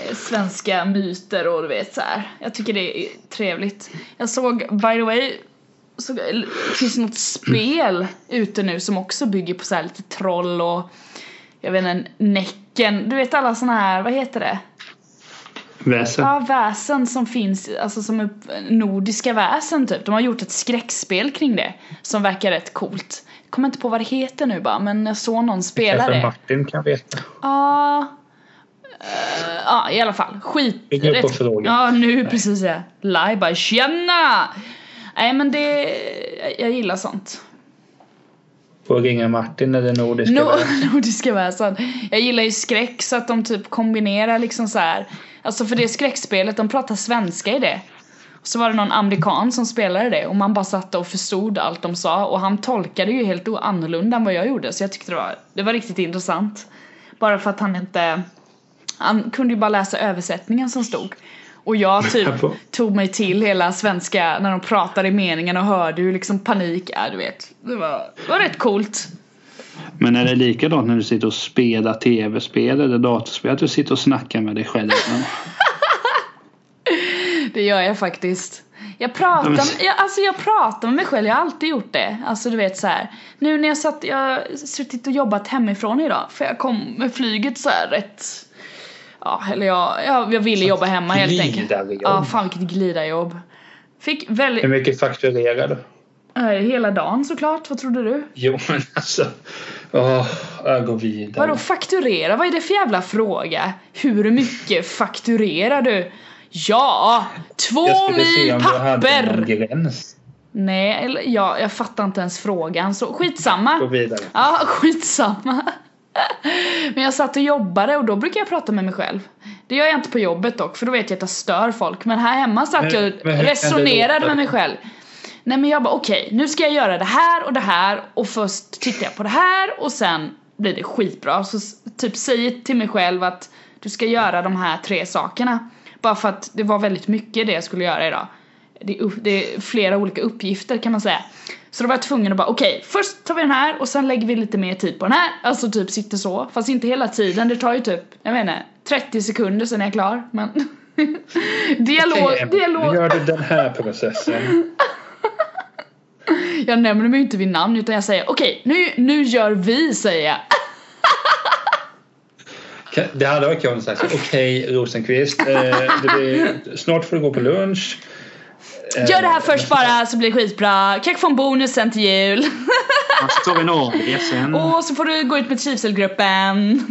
B: eh, svenska myter och du vet så här. Jag tycker det är trevligt. Jag såg, by the way, så, det finns något spel ute nu som också bygger på så här lite troll och jag vet inte, Näcken, du vet alla såna här, vad heter det?
A: Väsen.
B: Ja, väsen som finns, alltså som är nordiska väsen typ. De har gjort ett skräckspel kring det som verkar rätt coolt. Jag kommer inte på vad det heter nu bara, men jag såg någon spela
A: Kanske
B: det.
A: Martin kan veta.
B: Ja, eh, ja i alla fall. Skit.
A: Ring upp och fråga.
B: Ja, nu precis ja. Live bara tjena! Nej men det, jag gillar sånt.
A: Får ringa Martin eller Nordiska
B: No,
A: Väsen.
B: <laughs> nordiska väsen. Jag gillar ju skräck så att de typ kombinerar liksom så här. Alltså för det skräckspelet, de pratar svenska i det. Och så var det någon amerikan som spelade det och man bara satt och förstod allt de sa och han tolkade ju helt o- annorlunda än vad jag gjorde så jag tyckte det var, det var riktigt intressant. Bara för att han inte, han kunde ju bara läsa översättningen som stod. Och jag typ tog mig till hela svenska när de pratade i meningen och hörde hur liksom panik, ja du vet. Det var, det var rätt coolt.
A: Men är det likadant när du sitter och spelar tv-spel eller datorspel? Att du sitter och snackar med dig själv?
B: Det gör jag faktiskt.
A: <laughs>
B: Jag pratar, jag, alltså jag pratar med mig själv, jag har alltid gjort det. Alltså du vet så här. Nu när jag satt, jag har suttit och jobbat hemifrån idag för jag kom med flyget så här rätt Ja, eller jag, jag, jag ville jobba hemma helt enkelt.
A: glidarjobb. Mm.
B: Ja, fan vilket glidarjobb. Fick väldigt,
A: Hur mycket fakturerar du?
B: eh, hela dagen såklart, vad trodde du?
A: Jo men alltså. Åh, jag går vidare.
B: Vadå fakturera? Vad är det för jävla fråga? Hur mycket fakturerar du? Ja,
A: Jag
B: två
A: skulle se
B: mil
A: om du
B: papper!
A: hade någon gräns.
B: Nej, eller ja, jag fattar inte ens frågan så
A: Gå
B: skitsamma.
A: vidare.
B: Ja, <laughs> skitsamma. Men jag satt och jobbade och då brukar jag prata med mig själv. Det gör jag inte på jobbet dock för då vet jag att jag stör folk. Men här hemma satt
A: Men-
B: jag
A: men hur kan
B: och
A: det
B: resonerade
A: låta?
B: med mig själv. Nej men jag bara okej, nu ska jag göra det här och det här och först tittar jag på det här och sen blir det skitbra. Så s- typ säger till mig själv att du ska göra de här tre sakerna. Bara för att det var väldigt mycket det jag skulle göra idag. Det är, upp- det är flera olika uppgifter kan man säga. Så då var jag tvungen att bara okej, först tar vi den här och sen lägger vi lite mer tid på den här. Alltså typ sitter så, fast inte hela tiden. Det tar ju typ, jag vet inte, 30 sekunder sen är jag klar. Men <laughs> dialog,
A: Okej,
B: dialog.
A: Nu gör du den här processen.
B: Jag nämner mig ju inte vid namn utan jag säger okej, nu, nu gör vi säger jag.
A: Det hade varit kul om du sagt okej Rosenqvist, eh, det blir, snart får du gå på lunch. Eh,
B: Gör det här först bara så blir det skitbra. Kanske få en bonus sen till jul.
A: Så tar vi en AV sen.
B: Och så får du gå ut med trivselgruppen.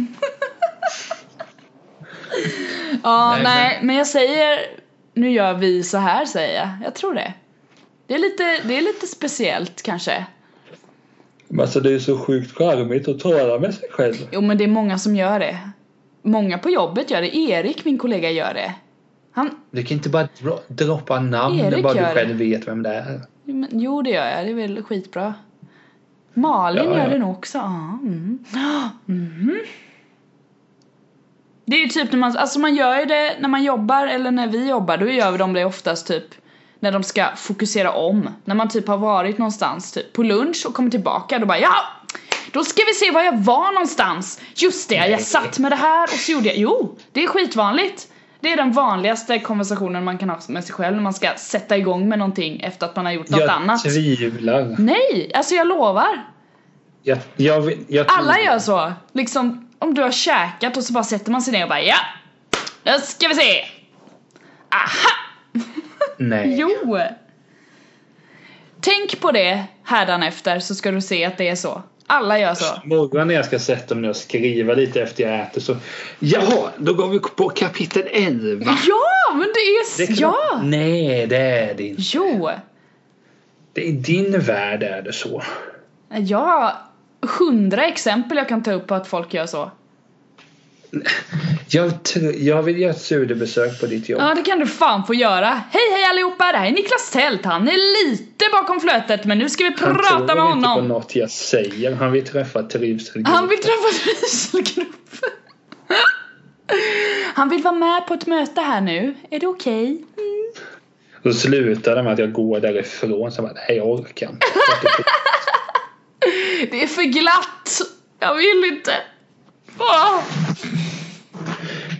B: <laughs> ja,
A: Nej,
B: nej, men jag säger nu gör vi så här säger jag. Jag tror det. Det är lite, det är lite speciellt kanske.
A: Men Alltså det är så sjukt charmigt att tala med sig själv.
B: Jo, men det är många som gör det. Många på jobbet gör det. Erik, min kollega, gör det. Han,
A: Du kan inte bara dro- droppa namn
B: Erik
A: när bara du
B: gör det.
A: själv vet vem det är.
B: jo, men- jo, det gör jag. Det är väl skitbra. Malin
A: Ja,
B: gör
A: ja.
B: det nog också. Ja, mm. Mhm. Det är ju typ när man, alltså man gör ju det när man jobbar eller när vi jobbar. Då gör de det oftast typ när de ska fokusera om. När man typ har varit någonstans, typ på lunch och kommer tillbaka. Då bara ja, då ska vi se var jag var någonstans. Just det, jag
A: Nej.
B: satt med det här och så gjorde jag. Jo, det är skitvanligt. Det är den vanligaste konversationen man kan ha med sig själv när man ska sätta igång med någonting efter att man har gjort något
A: jag
B: annat.
A: tvivlar.
B: Nej, alltså jag lovar.
A: Jag, jag, vill- jag
B: Alla
A: tvivlar.
B: gör så. Liksom om du har käkat och så bara sätter man sig ner och bara ja, nu ska vi se. Aha!
A: Nej.
B: Jo! Tänk på det efter så ska du se att det är så. Alla gör så.
A: Morgon när jag ska sätta mig ner och skriva lite efter jag äter så Jaha, då går vi på kapitel 11.
B: Ja, men det är...
A: Det Mm. är klart-
B: ja!
A: Nej, det är det inte.
B: Jo!
A: Det- I din värld är det så.
B: Jag har hundra exempel jag kan ta upp på att folk gör så.
A: Jag, tr- jag vill göra ett studiebesök på ditt jobb.
B: Ja, det kan du fan få göra. Hej, hej allihopa! Det här är Niklas Tält. Han är lite bakom flötet, men nu ska vi
A: Han
B: prata med
A: tror inte på
B: honom.
A: något jag säger. Han vill träffa trivselgruppen.
B: Han vill träffa dieselgrupp. Han vill vara med på ett möte här nu. Är det okej? Mm.
A: Så slutar det med att jag går därifrån. Så jag bara, nej jag orkar
B: <laughs>
A: inte.
B: Det är för glatt. Jag vill inte. Åh.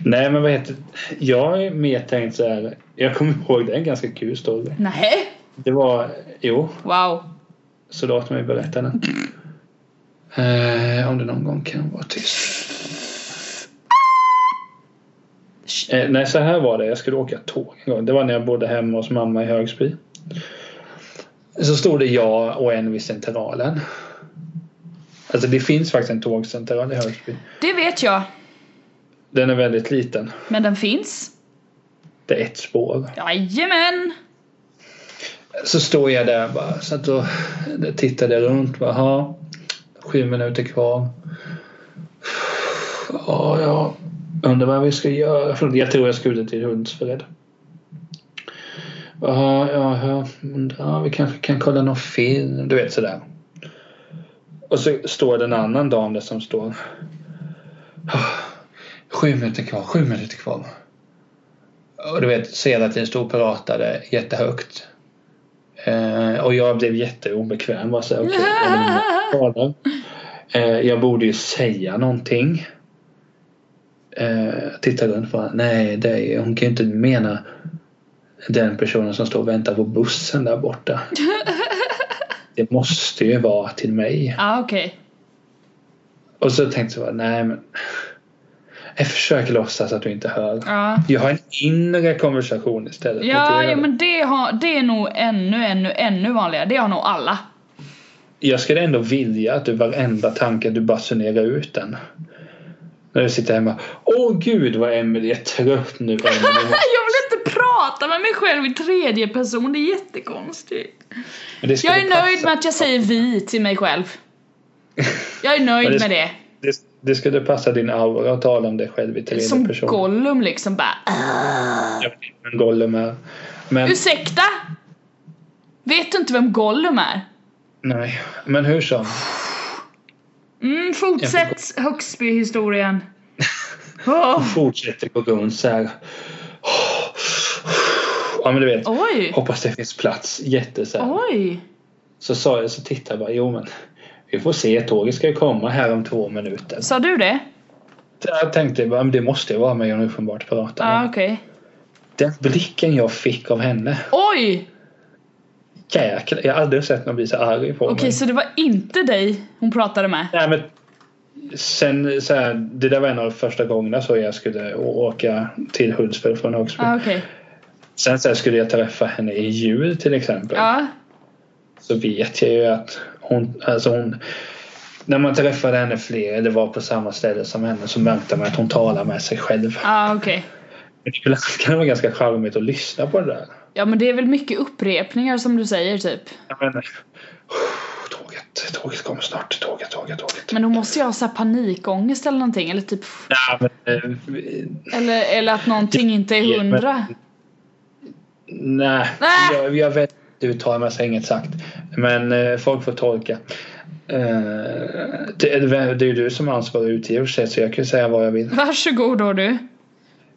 A: nej men vad heter Jag är mer tänkt så här. Jag kommer ihåg det är en ganska kul story.
B: Nej.
A: Det var, jo,
B: Wow.
A: så låt mig berätta den. Eh, om det någon gång kan vara tyst. Eh, nej, så här var det. Jag skulle åka tåg en gång. Det var när jag bodde hemma hos mamma i Högsby. Så stod det jag och en vid centralen. Alltså det finns faktiskt en tågcentral i Högsby.
B: Det vet jag.
A: Den är väldigt liten.
B: Men den finns.
A: Det är ett spår.
B: Jajamän.
A: Så står jag där bara, så att då tittade jag runt. Bara, aha, sju minuter kvar. Ja, ja. Undrar vad vi ska göra. För Jag tror jag ska ut till Hultsfred. Ja, ja, ja. Undrar, vi kanske kan kolla någon film. Du vet sådär. Och så står det en annan dam där som står. Sju minuter kvar, sju minuter kvar. Och du vet, så hela tiden stod och pratade jättehögt. Eh, och jag blev jätteobekväm. Var så här, okej, jag vill inte tala. eh, jag borde ju säga någonting. Eh, tittade runt och bara, nej, det är, hon kan ju inte mena den personen som står och väntar på bussen där borta. Det måste ju vara till mig.
B: Ja, okej.
A: Och så tänkte jag, bara, nej men. Jag försöker låtsas att du inte hör.
B: Ja.
A: Jag har en inre konversation istället.
B: Ja,
A: Motivera
B: ja
A: det.
B: men det, har, det är nog ännu, ännu, ännu vanligare. Det har nog alla.
A: Jag skulle ändå vilja att du varenda tanke du basunerar ut den. När du sitter hemma. Åh gud vad Emelie är trött nu.
B: <laughs>
A: Emelie.
B: Jag vill inte prata med mig själv i tredje person. Det är jättekonstigt.
A: Men det skulle
B: Jag är nöjd
A: passa-
B: med att jag säger vi till mig själv. Jag är nöjd
A: Men det-
B: med det.
A: Det, det skulle passa din aura att tala om dig själv i tredje
B: Som
A: person.
B: Gollum liksom bara
A: Jag vet inte vem Gollum är. Men,
B: Ursäkta? Vet du inte vem Gollum är?
A: nej. men hur som.
B: Mm, fortsätt Högsbyhistorien.
A: <laughs>
B: Åh,
A: Fortsätter gå runt så här. Ja men du vet.
B: Oj,
A: Hoppas det finns plats. Jätte så här.
B: oj.
A: Så sa jag, så tittade jag bara. Jo men. Vi får se. Tåget ska ju komma här om två minuter.
B: Sa du det?
A: Jag tänkte bara, men det måste ju vara med John uppenbart pratar.
B: Ja, Ah, okej.
A: Den blicken jag fick av henne. Oj! Jäklar, jag har aldrig sett någon bli så arg på
B: Okej,
A: mig.
B: så det var inte dig hon pratade med?
A: Nej, men sen så här, det där var en av de första gångerna så jag skulle å- åka till Hultsfred från Högsby.
B: Ja, Ah, okej.
A: Sen så här, skulle jag träffa henne i jul till exempel.
B: Ja,
A: Så vet jag ju att hon, alltså hon när man träffade henne fler eller var på samma ställe som henne så märkte man att hon talar med sig själv.
B: ja Ah, okej.
A: Ibland kan det vara ganska charmigt att lyssna på det där.
B: Ja men det är väl mycket upprepningar som du säger typ.
A: Jag menar, tåget, tåget kommer snart, tåget, tåget, tåget.
B: Men då måste jag ha så här panikångest eller någonting eller typ
A: Ja, men, eh,
B: Eller, eller att någonting inte är
A: men-
B: hundra.
A: Nej,
B: Nej.
A: jag, jag vet du uttalar mig så inget sagt. Men eh, folk får tolka. Eh, det, är- det är ju du som är ansvarig utgivare så så jag kan ju säga vad jag vill.
B: Varsågod då du.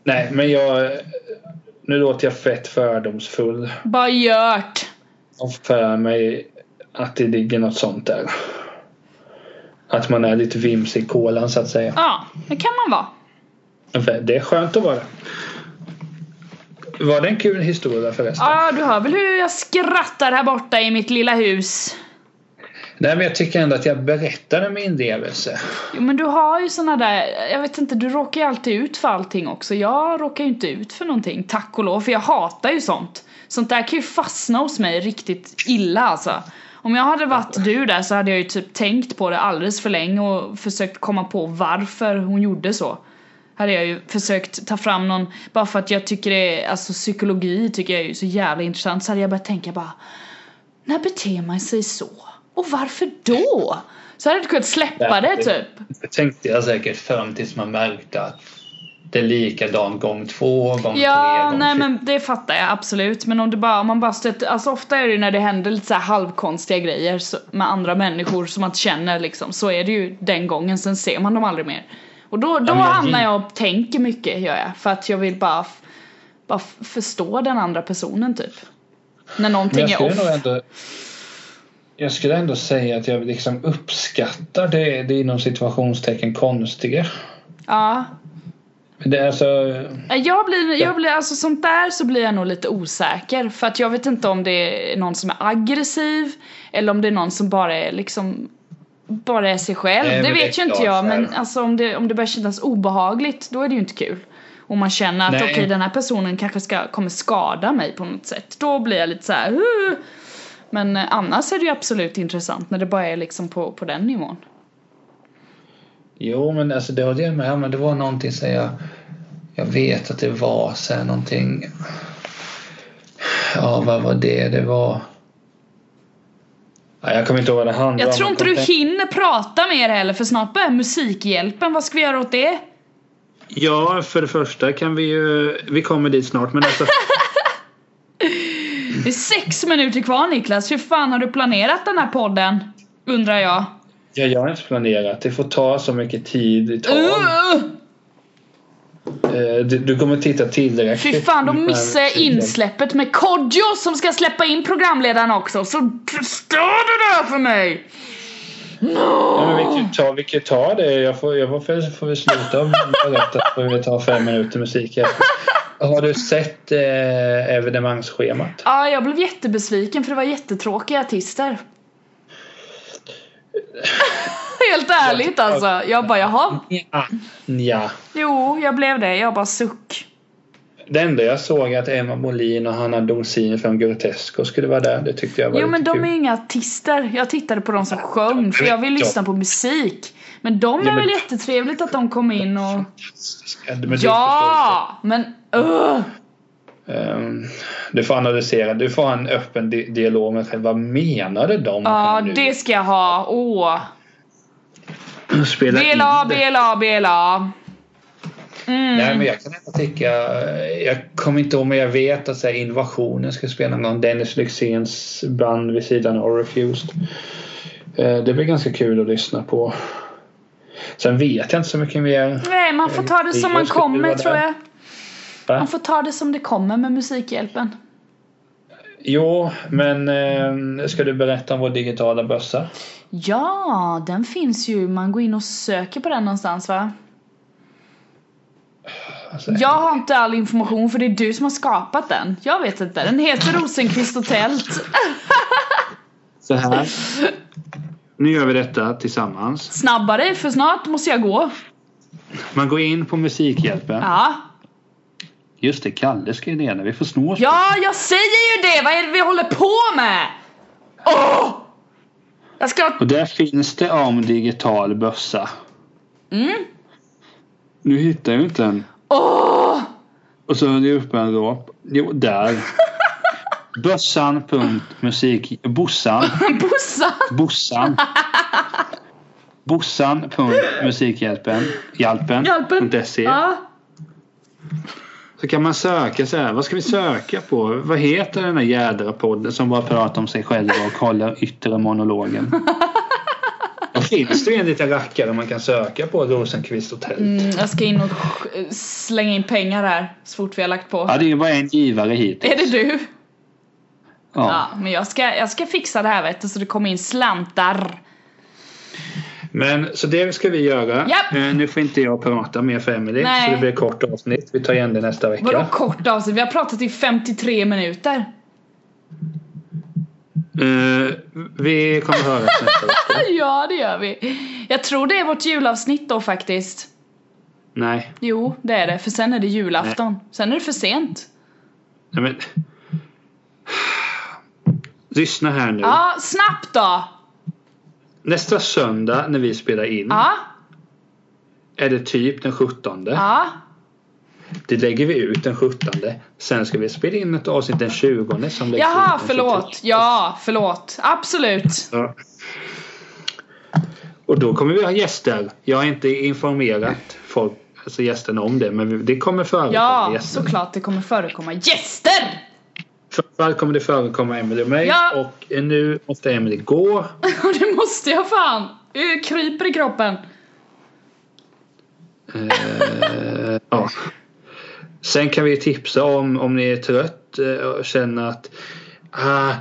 A: Nej, men jag... Nu låter jag fett fördomsfull.
B: Bara gjort.
A: Och för mig att det ligger något sånt där. Att man är lite vims i kolan så att säga.
B: Ja, det kan man vara.
A: För Det är skönt att vara. Var det en kul historia förresten?
B: Ja, du hör väl hur jag skrattar här borta i mitt lilla hus.
A: Nej, men jag tycker ändå att jag berättade min inlevelse.
B: Jo men du har ju såna där, jag vet inte, du råkar ju alltid ut för allting också. Jag råkar ju inte ut för någonting, tack och lov, för jag hatar ju sånt. Sånt där kan ju fastna hos mig riktigt illa alltså. Om jag hade varit du där så hade jag ju typ tänkt på det alldeles för länge och försökt komma på varför hon gjorde så. Hade jag ju försökt ta fram någon, bara för att jag tycker det är, alltså psykologi tycker jag är ju så jävla intressant, så hade jag börjat tänka bara när beter man sig så? Och varför då? Så hade du kunnat släppa det typ.
A: Det tänkte jag säkert fram tills man märkte att det är likadant gång två, gång tre,
B: Ja,
A: gång
B: nej
A: fyra.
B: men det fattar jag absolut. Men om det bara, om man bara stöter, alltså ofta är det ju när det händer lite så här halvkonstiga grejer så- med andra människor som man inte känner liksom. Så är det ju den gången, sen ser man dem aldrig mer. Och då, då
A: men jag
B: hamnar
A: gillar-
B: jag och tänker mycket gör jag. För att jag vill bara, f- bara f- förstå den andra personen typ. När
A: Men
B: någonting
A: jag
B: är
A: skulle
B: off.
A: nog ändå... Jag skulle ändå säga att jag liksom uppskattar det, det inom situationstecken konstiga.
B: Ja.
A: Det är alltså...
B: Nej, Eh, Jag blir, jag blir, alltså sånt där så blir jag nog lite osäker för att jag vet inte om det är någon som är aggressiv eller om det är någon som bara är liksom bara är sig själv.
A: Nej,
B: det
A: men det är
B: vet ju inte
A: klart
B: jag
A: så här.
B: men alltså om det, om det börjar kännas obehagligt då är det ju inte kul. Om man känner att
A: Nej.
B: okej den här personen kanske ska, kommer skada mig på något sätt. Då blir jag lite så här. "Huh." Men eh, annars är det ju absolut intressant när det bara är liksom på, på den nivån.
A: Jo, men alltså det var det med. Men det var någonting som jag... Jag vet att det var så här någonting... Ja, vad var det? Det var... Ja, jag kommer inte ihåg vad det handlade
B: Jag
A: om,
B: tror
A: men
B: inte du
A: kom-
B: hinner prata mer heller för snart börjar Musikhjälpen. Vad ska vi göra åt det?
A: Ja, för det första kan vi ju... Vi kommer dit snart, men alltså...
B: Det är sex minuter kvar Niklas, hur fan har du planerat den här podden? Undrar jag.
A: <laughs> Ja, jag har inte planerat. Det får ta så mycket tid i tal.
B: Uh,
A: Eh, Du, du kommer titta Mm, tillräckligt.
B: fy fan, då missar jag
A: Tiden.
B: insläppet med Kodjo som ska släppa in programledaren också. Så förstör du det för mig!
A: Ja, men vi kan ju ta, vi kan ju ta det. Jag får, jag får, får vi sluta berätta för vi tar fem minuter musik. efter. Har du sett eh, evenemangsschemat?
B: Ja, jag blev jättebesviken för det var jättetråkiga artister. <laughs> Helt ärligt alltså. Jag bara jaha.
A: Ja. ja.
B: Jo, jag blev det. Jag bara suck.
A: Det enda jag såg är att Emma Molin och Hanna Donzin från Grotesco skulle vara där. Det tyckte jag var
B: Jo men
A: lite
B: de är
A: kul.
B: ju inga artister. Jag tittade på de som sjöng för jag vill lyssna på musik. Men de
A: Ja,
B: är
A: men-
B: väl jättetrevligt att de kom in och...
A: Men du förstår
B: Ja! Men öh!
A: inte. Ehm, Du får analysera. Du får ha en öppen di- dialog med själva. Vad menade de?
B: Ja,
A: nu?
B: det ska jag ha. Åh.
A: Spela in
B: BLA,
A: det.
B: BLA, BLA. Mm.
A: Nej, men jag kan ändå tycka... Jag kommer inte ihåg, men jag vet att så här, Invasionen ska spela någon gång. Dennis Lyxzéns band vid sidan av Refused. Eh, Det blir ganska kul att lyssna på. Sen vet jag inte så mycket mer.
B: Nej, man får ta det som man
A: Jag skulle
B: kommer
A: vara
B: tror
A: där.
B: jag.
A: Va?
B: Man får ta det som det kommer med Musikhjälpen.
A: Jo, men eh, ska du berätta om vår digitala bössa?
B: Ja, den finns ju. Man går in och söker på den någonstans va?
A: Alltså,
B: Jag har inte all information för det är du som har skapat den. Jag vet inte. Den heter Rosenqvist och tält.
A: Så här. Nu gör vi detta tillsammans.
B: Snabbare för snart måste jag gå.
A: Man går in på Musikhjälpen.
B: Ja.
A: Just det, Kalle skrev ner det. Vi får sno oss.
B: Ja, jag säger ju det! Vad är det vi håller på med? Åh! Jag ska...
A: Och där finns det om digital bössa.
B: Mm.
A: Nu hittar jag ju inte den.
B: Åh!
A: Och så är det uppe en då. Jo,
B: <laughs>
A: där. Bössan. punkt Musik. Bossan.
B: Bossa!
A: Bossan. Bossan. punkt Musikhjälpen. Hjälpen.
B: Hjälpen.
A: punkt SE.
B: Ja.
A: Så kan man söka så här. Vad ska vi söka på? Vad heter den där jädra podden som bara pratar om sig själva och håller yttre monologen?
B: <laughs>
A: Då finns det ju en liten rackare man kan söka på. Rosenqvist hotell.
B: Mm, jag ska in och sk- slänga in pengar här så fort vi har lagt på.
A: Ja, det är ju bara en givare hit.
B: Är det du?
A: Ja.
B: Ja, men jag ska, jag ska fixa det här vet du så det kommer in slantar.
A: Men så det ska vi göra.
B: Japp.
A: Eh, Nu får inte jag prata mer för Emelie.
B: Nej.
A: Så det blir ett kort avsnitt. Vi tar igen det nästa vecka.
B: Vadå kort avsnitt? Vi har pratat i 53 minuter. <laughs>
A: Eh, vi kommer höra nästa vecka.
B: Ja, det gör vi. Jag tror det är vårt julavsnitt då faktiskt.
A: Nej.
B: Jo, det är det. För sen är det julafton. Sen är det för sent.
A: Nej men. Lyssna här nu.
B: Ja, snabbt då!
A: Nästa söndag när vi spelar in
B: Ja,
A: är det typ den 17.
B: ja.
A: Det lägger vi ut den 17. Sen ska vi spela in ett avsnitt den 20 som läggs ut
B: Jaha,
A: den 23.
B: förlåt. Ja, förlåt. Absolut.
A: Ja. Och då kommer vi ha gäster. Jag har inte informerat folk, alltså gästerna om det men vi- det kommer förekomma
B: Ja,
A: gäster.
B: såklart det kommer förekomma gäster! <laughs>
A: Framförallt kommer det förekomma Emelie och mig
B: Ja.
A: och nu måste Emelie gå.
B: Och det måste jag fan. Det kryper i kroppen.
A: Eh, ja. Sen kan vi tipsa om om ni är trött eh, och känner att ah,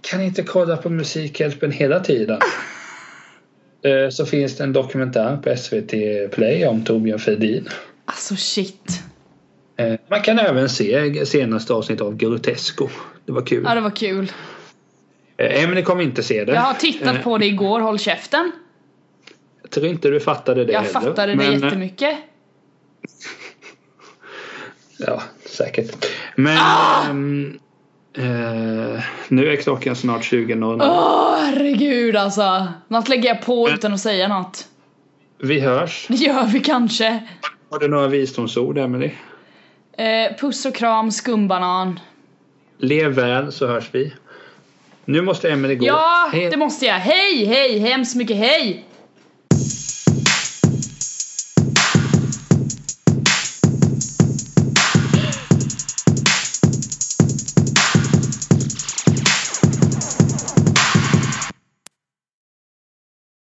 A: kan inte kolla på Musikhjälpen hela
B: <laughs>
A: tiden. Eh, Så finns det en dokumentär på SVT Play om Torbjörn Fredin.
B: Alltså shit.
A: Eh, Man kan även se senaste avsnittet av Grotesco. Det var kul.
B: Ja, det var kul.
A: Eh, Emelie kommer inte se det. Eh,
B: Jag har tittat på det igår, håll käften.
A: Jag tror inte du fattade det
B: Jag
A: heller.
B: fattade det
A: Men, eh,
B: jättemycket.
A: Ja, säkert. Men...
B: Ah!
A: ehm, eh, nu är klockan snart 20.00.
B: Åh herregud alltså. Något lägger jag på utan att säga något.
A: Vi hörs.
B: Det gör vi kanske.
A: Har du några visdomsord, Emelie?
B: Eh, puss och kram, skumbanan.
A: Lev väl så hörs vi. Nu måste Emelie gå.
B: Ja,
A: Hej.
B: det måste jag. Hej, hej, hemskt mycket hej!